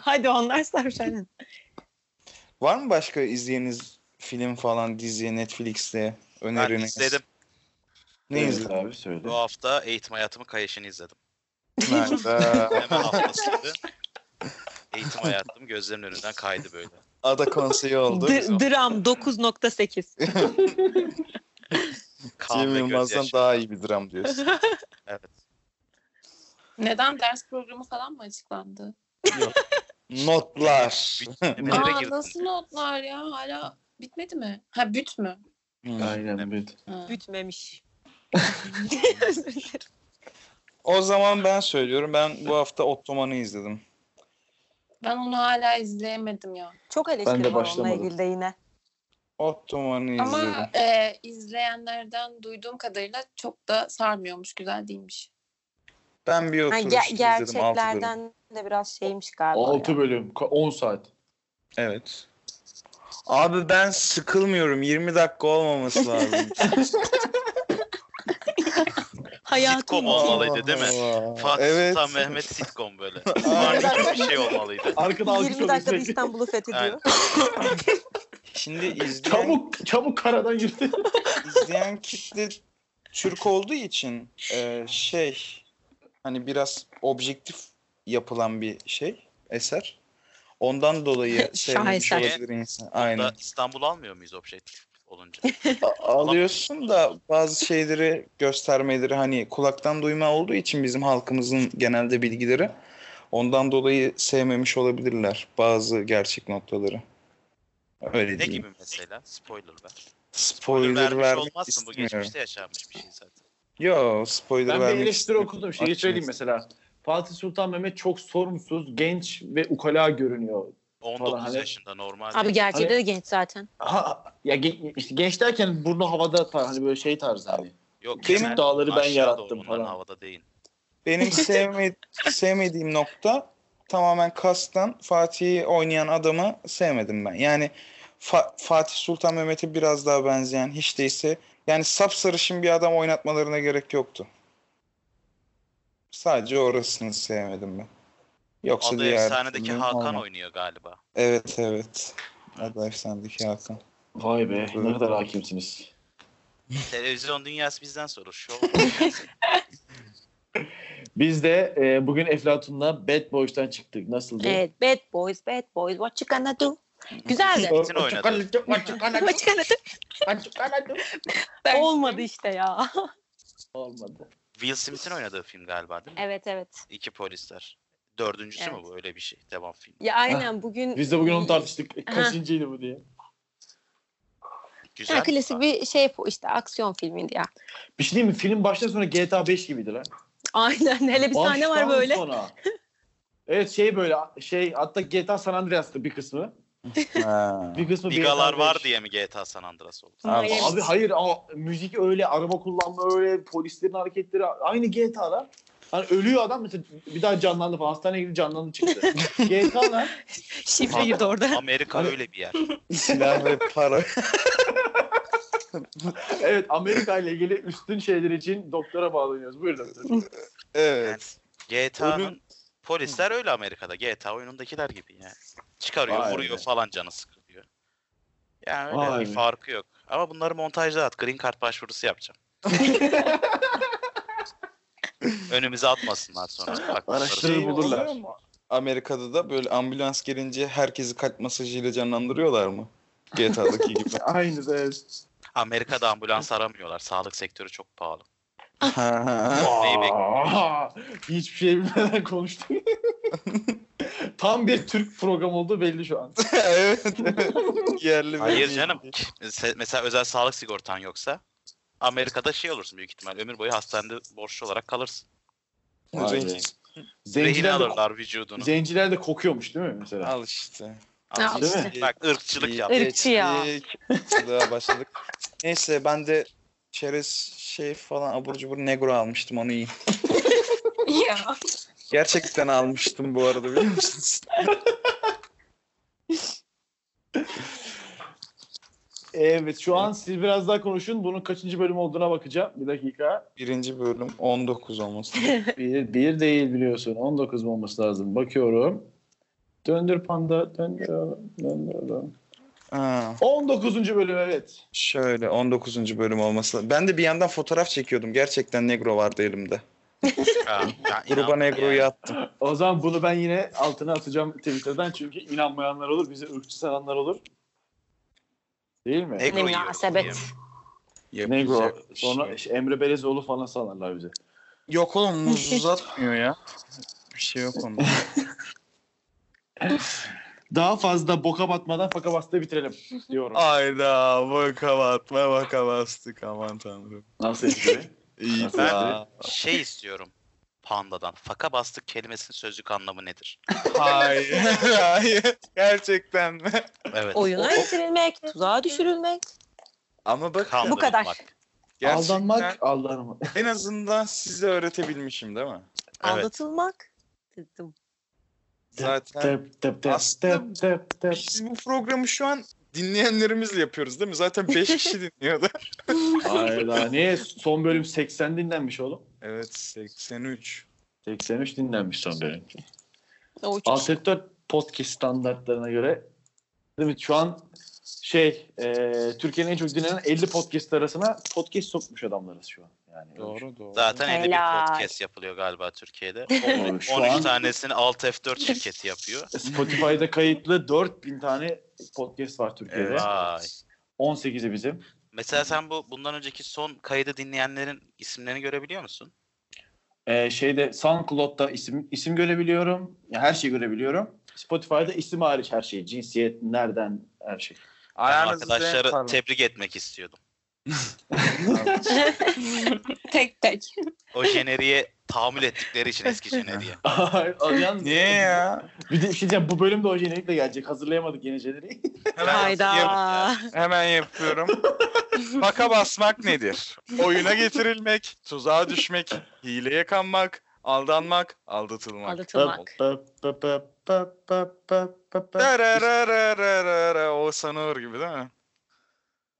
[SPEAKER 2] Hadi onlar sarhoşların.
[SPEAKER 5] Var mı başka izleyeniz film falan dizi Netflix'te
[SPEAKER 6] Ben
[SPEAKER 5] öneriniz?
[SPEAKER 6] izledim.
[SPEAKER 5] Ne
[SPEAKER 3] evet
[SPEAKER 5] izledin?
[SPEAKER 3] abi söyle.
[SPEAKER 6] Bu hafta Eğitim Hayatımı Kayaş'ını izledim.
[SPEAKER 5] Nerede?
[SPEAKER 6] Hemen haftasıydı. Eğitim hayatım gözlerimin önünden kaydı böyle.
[SPEAKER 5] Ada konseyi oldu.
[SPEAKER 2] D- dram 9.8.
[SPEAKER 6] Kan
[SPEAKER 5] Cem
[SPEAKER 6] ve
[SPEAKER 5] Yılmaz'dan
[SPEAKER 6] gözyaşı.
[SPEAKER 5] daha iyi bir dram diyorsun.
[SPEAKER 4] Neden ders programı falan mı açıklandı?
[SPEAKER 5] Notlar.
[SPEAKER 6] Bütünlemelere
[SPEAKER 4] Aa
[SPEAKER 6] girdim.
[SPEAKER 4] nasıl notlar ya hala bitmedi mi? Ha büt mü?
[SPEAKER 3] Aynen evet.
[SPEAKER 4] Ha.
[SPEAKER 2] Bütmemiş.
[SPEAKER 5] O zaman ben söylüyorum. Ben bu hafta Ottoman'ı izledim.
[SPEAKER 4] Ben onu hala izleyemedim ya.
[SPEAKER 2] Çok eleştiri
[SPEAKER 3] Ben de
[SPEAKER 2] var onunla
[SPEAKER 3] başlamadım.
[SPEAKER 2] ilgili de yine.
[SPEAKER 5] Ottoman'ı izledim.
[SPEAKER 4] Ama e, izleyenlerden duyduğum kadarıyla çok da sarmıyormuş, güzel değilmiş.
[SPEAKER 5] Ben bir
[SPEAKER 2] Ha,
[SPEAKER 5] oturuş
[SPEAKER 2] ge-
[SPEAKER 5] izledim. altı bölüm.
[SPEAKER 2] gerçeklerden de biraz şeymiş galiba.
[SPEAKER 3] 6
[SPEAKER 2] ya.
[SPEAKER 3] bölüm, ka- 10 saat.
[SPEAKER 5] Evet. Abi ben sıkılmıyorum. 20 dakika olmaması lazım.
[SPEAKER 6] Sitcom
[SPEAKER 2] Hayatım
[SPEAKER 6] olmalıydı değil mi?
[SPEAKER 5] Allah.
[SPEAKER 6] Fatih
[SPEAKER 5] evet.
[SPEAKER 6] Sultan Mehmet sitcom böyle.
[SPEAKER 5] Aynen.
[SPEAKER 6] Varlıklı bir şey olmalıydı.
[SPEAKER 3] Arkada alkış
[SPEAKER 2] 20 dakikada
[SPEAKER 3] olacak.
[SPEAKER 2] İstanbul'u fethediyor.
[SPEAKER 5] Şimdi izleyen,
[SPEAKER 3] Çabuk, çabuk karadan yürüdü.
[SPEAKER 5] izleyen kitle Türk olduğu için e, şey hani biraz objektif yapılan bir şey eser. Ondan dolayı sevmemiş
[SPEAKER 2] Şaheser.
[SPEAKER 5] olabilir insan. Aynen.
[SPEAKER 6] Aynen. İstanbul almıyor muyuz objektif olunca?
[SPEAKER 5] A- alıyorsun da bazı şeyleri göstermeleri hani kulaktan duyma olduğu için bizim halkımızın genelde bilgileri ondan dolayı sevmemiş olabilirler bazı gerçek noktaları. Öyle
[SPEAKER 6] ne
[SPEAKER 5] diyeyim.
[SPEAKER 6] gibi mesela? Spoiler ver.
[SPEAKER 5] Spoiler
[SPEAKER 6] vermiş
[SPEAKER 5] vermek
[SPEAKER 6] olmazsın bu
[SPEAKER 5] istemiyorum.
[SPEAKER 6] geçmişte yaşanmış bir şey zaten.
[SPEAKER 5] Yo spoiler
[SPEAKER 3] Ben bir
[SPEAKER 5] vermek
[SPEAKER 3] eleştiri
[SPEAKER 5] istemiyorum.
[SPEAKER 3] okudum. Şeyi söyleyeyim mesela. Fatih Sultan Mehmet çok sorumsuz, genç ve ukala görünüyor.
[SPEAKER 6] 19
[SPEAKER 3] hani-
[SPEAKER 6] yaşında normal.
[SPEAKER 2] Abi gerçekte de genç zaten.
[SPEAKER 3] Ha, ya ge- işte genç derken burnu havada tar- hani böyle şey tarzı hani.
[SPEAKER 6] Yok,
[SPEAKER 3] Benim
[SPEAKER 6] Kemal
[SPEAKER 3] dağları ben
[SPEAKER 6] aşağıda
[SPEAKER 3] yarattım
[SPEAKER 6] onların
[SPEAKER 3] falan.
[SPEAKER 6] havada değil.
[SPEAKER 5] Benim sevme- sevmediğim nokta tamamen kastan Fatih'i oynayan adamı sevmedim ben. Yani Fa- Fatih Sultan Mehmet'e biraz daha benzeyen hiç değilse yani sapsarışın bir adam oynatmalarına gerek yoktu. Sadece orasını sevmedim ben. Yoksa
[SPEAKER 6] Adı
[SPEAKER 5] diğer
[SPEAKER 6] Efsane'deki
[SPEAKER 5] türlü
[SPEAKER 6] Hakan
[SPEAKER 5] normal.
[SPEAKER 6] oynuyor galiba.
[SPEAKER 5] Evet evet. Adı Efsane'deki Hakan.
[SPEAKER 3] Vay be ne
[SPEAKER 5] Evet.
[SPEAKER 3] kadar hakimsiniz.
[SPEAKER 6] Televizyon dünyası bizden sorur. Şov.
[SPEAKER 3] Biz de e, bugün Eflatun'la Bad Boys'tan çıktık. Nasıldı?
[SPEAKER 2] Evet. Bad boys, bad boys. What you gonna do? Güzeldi.
[SPEAKER 6] Kesin oynadı.
[SPEAKER 2] What you gonna do? Olmadı işte ya.
[SPEAKER 3] Olmadı.
[SPEAKER 6] Will Smith'in oynadığı film galiba değil mi?
[SPEAKER 2] Evet evet.
[SPEAKER 6] İki polisler. Dördüncüsü mü
[SPEAKER 2] Evet.
[SPEAKER 6] bu? Öyle bir şey. Devam film.
[SPEAKER 2] Ya aynen bugün
[SPEAKER 3] Biz de bugün onu tartıştık. Kaçıncıydı bu diye.
[SPEAKER 6] Güzel.
[SPEAKER 2] Ya klasik bir şey bu işte aksiyon filmiydi ya.
[SPEAKER 3] Bir şey diyeyim mi? Film baştan sonra GTA 5 gibiydi lan.
[SPEAKER 2] Aynen hele bir sahne var
[SPEAKER 3] Baştan
[SPEAKER 2] böyle.
[SPEAKER 3] sona. Evet şey böyle şey hatta GTA San Andreas'tı bir kısmı.
[SPEAKER 5] Ha.
[SPEAKER 3] Bir kısmı
[SPEAKER 6] Bigalar
[SPEAKER 3] GTA 5.
[SPEAKER 6] var diye mi GTA San Andreas oldu?
[SPEAKER 5] Abi,
[SPEAKER 2] Miami.
[SPEAKER 3] Abi hayır ama müzik öyle, araba kullanma öyle, polislerin hareketleri aynı GTA'lar. Hani ölüyor adam mesela bir daha canlandı falan. Hastaneye gidip canlandı çıktı. GTA'lar
[SPEAKER 2] Şifre girdi orada.
[SPEAKER 6] Amerika öyle bir yer.
[SPEAKER 5] Silah ve para.
[SPEAKER 3] evet Amerika ile ilgili üstün şeyler için doktora bağlanıyoruz. Buyur doktor.
[SPEAKER 5] Evet.
[SPEAKER 6] GTA'nın polisler öyle Amerika'da. GTA oyunundakiler gibi yani. Çıkarıyor,
[SPEAKER 3] Vay
[SPEAKER 6] vuruyor
[SPEAKER 3] be.
[SPEAKER 6] falan canı sıkılıyor. Yani öyle
[SPEAKER 3] Vay
[SPEAKER 6] bir
[SPEAKER 3] be.
[SPEAKER 6] farkı yok. Ama bunları montajda at. Green Card başvurusu yapacağım. Önümüze atmasınlar sonra. Bak,
[SPEAKER 3] Araştırır
[SPEAKER 5] Şey
[SPEAKER 3] bulurlar.
[SPEAKER 5] oluyor mu? Amerika'da da böyle ambulans gelince herkesi kalp masajıyla canlandırıyorlar mı? GTA'daki gibi.
[SPEAKER 3] Aynı da evet.
[SPEAKER 6] Amerika'da ambulans aramıyorlar. Sağlık sektörü çok pahalı.
[SPEAKER 5] Ha.
[SPEAKER 6] Neyi
[SPEAKER 3] Aa, Hiçbir şey bilmeden konuştuk. Tam bir Türk programı oldu belli şu an.
[SPEAKER 5] evet. evet. Yerli
[SPEAKER 6] Hayır
[SPEAKER 5] ve-
[SPEAKER 6] canım. Se- Mesela özel sağlık sigortan yoksa Amerika'da şey olursun büyük ihtimal. Ömür boyu hastanede borçlu olarak kalırsın.
[SPEAKER 5] Renk-
[SPEAKER 3] Vay be.
[SPEAKER 6] Rehin
[SPEAKER 3] Zenciler de,
[SPEAKER 6] alırlar vücudunu.
[SPEAKER 3] zenciler de kokuyormuş değil mi mesela?
[SPEAKER 5] Al işte.
[SPEAKER 2] Ya
[SPEAKER 6] Al
[SPEAKER 3] Değil
[SPEAKER 6] işte.
[SPEAKER 3] mi?
[SPEAKER 6] Bak ırkçılık yap.
[SPEAKER 2] Irkçı ya.
[SPEAKER 5] Geçtik. Daha başladık. Neyse ben de çerez şey falan abur cubur negro almıştım onu iyi.
[SPEAKER 4] ya.
[SPEAKER 5] Gerçekten almıştım bu arada biliyor musunuz?
[SPEAKER 3] Evet şu an siz biraz daha konuşun. Bunun kaçıncı bölüm olduğuna bakacağım. Bir dakika.
[SPEAKER 5] Birinci bölüm 19 olması.
[SPEAKER 3] Bir, bir değil biliyorsun. 19 mu olması lazım. Bakıyorum. Döndür panda. Döndür. oğlum, Döndür. oğlum.
[SPEAKER 5] Ha,
[SPEAKER 3] 19. bölüm evet.
[SPEAKER 5] şöyle 19. bölüm olması. lazım. Ben de bir yandan fotoğraf çekiyordum. Gerçekten negro vardı elimde.
[SPEAKER 6] Ha, Ee, ya
[SPEAKER 5] Gruba
[SPEAKER 6] inan
[SPEAKER 5] negroyu
[SPEAKER 6] ya.
[SPEAKER 5] attım.
[SPEAKER 3] O zaman bunu ben yine altına atacağım Twitter'dan. Çünkü inanmayanlar olur. Bizi ırkçı sananlar olur. Değil mi?
[SPEAKER 6] Negro
[SPEAKER 2] Ne
[SPEAKER 6] yiyor,
[SPEAKER 2] münasebet.
[SPEAKER 6] yiyor.
[SPEAKER 3] Negro.
[SPEAKER 5] Yapacak bir şey
[SPEAKER 3] Sonra işte Emre Belezoğlu falan sanarlar bizi.
[SPEAKER 5] Yok oğlum muz uzatmıyor ya. Bir şey yok onda.
[SPEAKER 3] Daha fazla boka batmadan faka bastı bitirelim diyorum.
[SPEAKER 5] Ayda baka batma baka bastık aman tanrım.
[SPEAKER 3] Nasıl espri?
[SPEAKER 5] İyi
[SPEAKER 6] Ben şey istiyorum. pandadan. Faka bastık kelimesinin sözlük anlamı nedir?
[SPEAKER 5] Hayır. Hayır. Gerçekten mi?
[SPEAKER 6] Evet.
[SPEAKER 2] Oyuna getirilmek, tuzağa düşürülmek.
[SPEAKER 7] Ama bak
[SPEAKER 6] kandırılmak.
[SPEAKER 2] kadar.
[SPEAKER 5] Gerçekten
[SPEAKER 3] Aldanmak, aldanmak.
[SPEAKER 5] en azından size öğretebilmişim değil mi?
[SPEAKER 6] Evet.
[SPEAKER 2] Aldatılmak. Dedim.
[SPEAKER 5] Zaten
[SPEAKER 3] Tep tep tep
[SPEAKER 5] Aslında
[SPEAKER 3] tep tep tep.
[SPEAKER 5] biz bu programı şu an dinleyenlerimizle yapıyoruz değil mi? Zaten 5 kişi dinliyordu.
[SPEAKER 3] Hayda niye? Son bölüm 80 dinlenmiş oğlum.
[SPEAKER 5] Evet 83.
[SPEAKER 3] 83 dinlenmiş son bölüm.
[SPEAKER 2] O üç-
[SPEAKER 3] Alt F4 podcast standartlarına göre değil mi? Şu an şey e, Türkiye'nin en çok dinlenen 50 podcast arasına podcast sokmuş adamlarız şu an. Yani
[SPEAKER 5] Doğru doğru.
[SPEAKER 6] Zaten 51
[SPEAKER 2] Helal.
[SPEAKER 6] podcast yapılıyor galiba Türkiye'de.
[SPEAKER 3] Doğru, şu
[SPEAKER 6] 13
[SPEAKER 3] an-
[SPEAKER 6] tanesini Alt F4 şirketi yapıyor.
[SPEAKER 3] Spotify'da kayıtlı 4000 tane podcast var Türkiye'de.
[SPEAKER 7] Evet.
[SPEAKER 6] Vay.
[SPEAKER 3] 18'i bizim.
[SPEAKER 6] Mesela sen bu bundan önceki son kaydı dinleyenlerin isimlerini görebiliyor musun?
[SPEAKER 3] E, şeyde SoundCloud'da isim isim görebiliyorum. Ya her şeyi görebiliyorum. Spotify'da isim hariç her şey. Cinsiyet, nereden her şey.
[SPEAKER 6] Ben
[SPEAKER 5] Ayağınızı denk
[SPEAKER 6] arkadaşları
[SPEAKER 5] parmak.
[SPEAKER 6] tebrik etmek istiyordum.
[SPEAKER 4] tek tek.
[SPEAKER 6] O jeneriğe tahammül ettikleri için eski jeneriğe.
[SPEAKER 3] Yalnız-
[SPEAKER 5] Niye ya?
[SPEAKER 3] Bir de bir şey diyeceğim. Bu bölüm de o jenerikle gelecek. Hazırlayamadık yeni jeneriği.
[SPEAKER 5] Hemen yap-
[SPEAKER 2] Hayda.
[SPEAKER 5] hemen yapıyorum. Faka basmak nedir? Oyuna getirilmek, tuzağa düşmek, hileye kanmak, aldanmak, aldatılmak.
[SPEAKER 2] Aldatılmak.
[SPEAKER 5] Darararararara, O sanır gibi değil mi?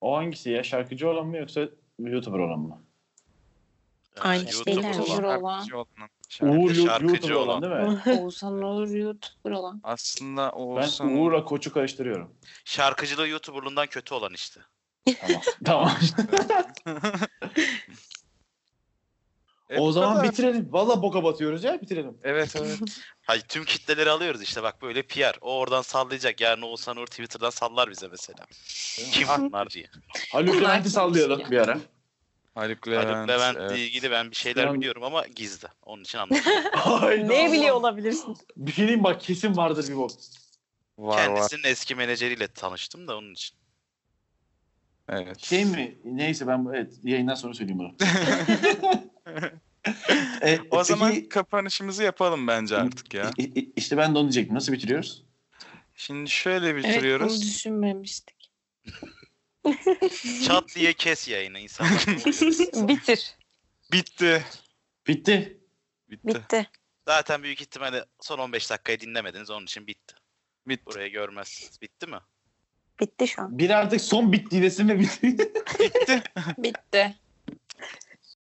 [SPEAKER 3] O hangisi ya? Şarkıcı olan mı yoksa YouTuber olan mı?
[SPEAKER 2] Aynı
[SPEAKER 6] YouTube'da
[SPEAKER 2] şeyler.
[SPEAKER 6] Ee, olan.
[SPEAKER 4] Olur olan.
[SPEAKER 5] Şarkıcı olan. Şarkı-
[SPEAKER 3] Uğur Yo-
[SPEAKER 6] şarkıcı
[SPEAKER 3] YouTuber olan,
[SPEAKER 6] olan.
[SPEAKER 3] değil mi?
[SPEAKER 4] Oğuzhan olur YouTuber olan.
[SPEAKER 5] Aslında
[SPEAKER 3] Ben
[SPEAKER 5] Oğuzhan
[SPEAKER 3] Uğur'la Koç'u karıştırıyorum.
[SPEAKER 6] Şarkıcılığı YouTuber'lığından kötü olan işte.
[SPEAKER 3] Tamam. tamam.
[SPEAKER 5] E,
[SPEAKER 3] o
[SPEAKER 5] bu
[SPEAKER 3] zaman
[SPEAKER 5] kadar.
[SPEAKER 3] bitirelim. Valla boka batıyoruz ya bitirelim.
[SPEAKER 5] Evet evet.
[SPEAKER 6] Hayır tüm kitleleri alıyoruz işte bak böyle PR. O oradan sallayacak. Yarın Oğuzhan Uğur Twitter'dan sallar bize mesela. Kim bunlar diye.
[SPEAKER 3] Haluk Levent'i sallayalım bir ara.
[SPEAKER 5] Haluk
[SPEAKER 6] Haluk
[SPEAKER 5] Levent.
[SPEAKER 6] Levent'le
[SPEAKER 5] evet.
[SPEAKER 6] ilgili ben bir
[SPEAKER 3] Şu
[SPEAKER 6] şeyler
[SPEAKER 3] an-
[SPEAKER 6] biliyorum ama gizli. Onun için anlatıyorum.
[SPEAKER 3] Hayda.
[SPEAKER 2] Ne biliyor olabilirsin?
[SPEAKER 3] Bir şey diyeyim bak kesin vardır bir bok.
[SPEAKER 5] Var var.
[SPEAKER 6] Kendisinin eski menajeriyle tanıştım da onun için.
[SPEAKER 5] Evet.
[SPEAKER 3] Şey mi? Neyse ben evet, yayından sonra söyleyeyim bunu. E,
[SPEAKER 5] O
[SPEAKER 3] peki-
[SPEAKER 5] zaman kapanışımızı yapalım bence artık ya.
[SPEAKER 3] İ- i- İşte ben de onu diyecektim. Nasıl bitiriyoruz?
[SPEAKER 5] Şimdi şöyle
[SPEAKER 4] Evet bunu
[SPEAKER 5] bitiriyoruz.
[SPEAKER 4] düşünmemiştik.
[SPEAKER 6] Çat diye kes yayını insanlar.
[SPEAKER 2] Bitir.
[SPEAKER 5] Bitti.
[SPEAKER 3] Bitti.
[SPEAKER 5] Bitti.
[SPEAKER 2] Bitti.
[SPEAKER 6] Zaten büyük ihtimalle son 15 dakikayı dinlemediniz onun için bitti.
[SPEAKER 5] Bitti.
[SPEAKER 6] Buraya görmezsiniz. Bitti mi?
[SPEAKER 2] Bitti şu an.
[SPEAKER 3] Bir artık son bitti desin ve bitti.
[SPEAKER 5] Bitti.
[SPEAKER 4] Bitti.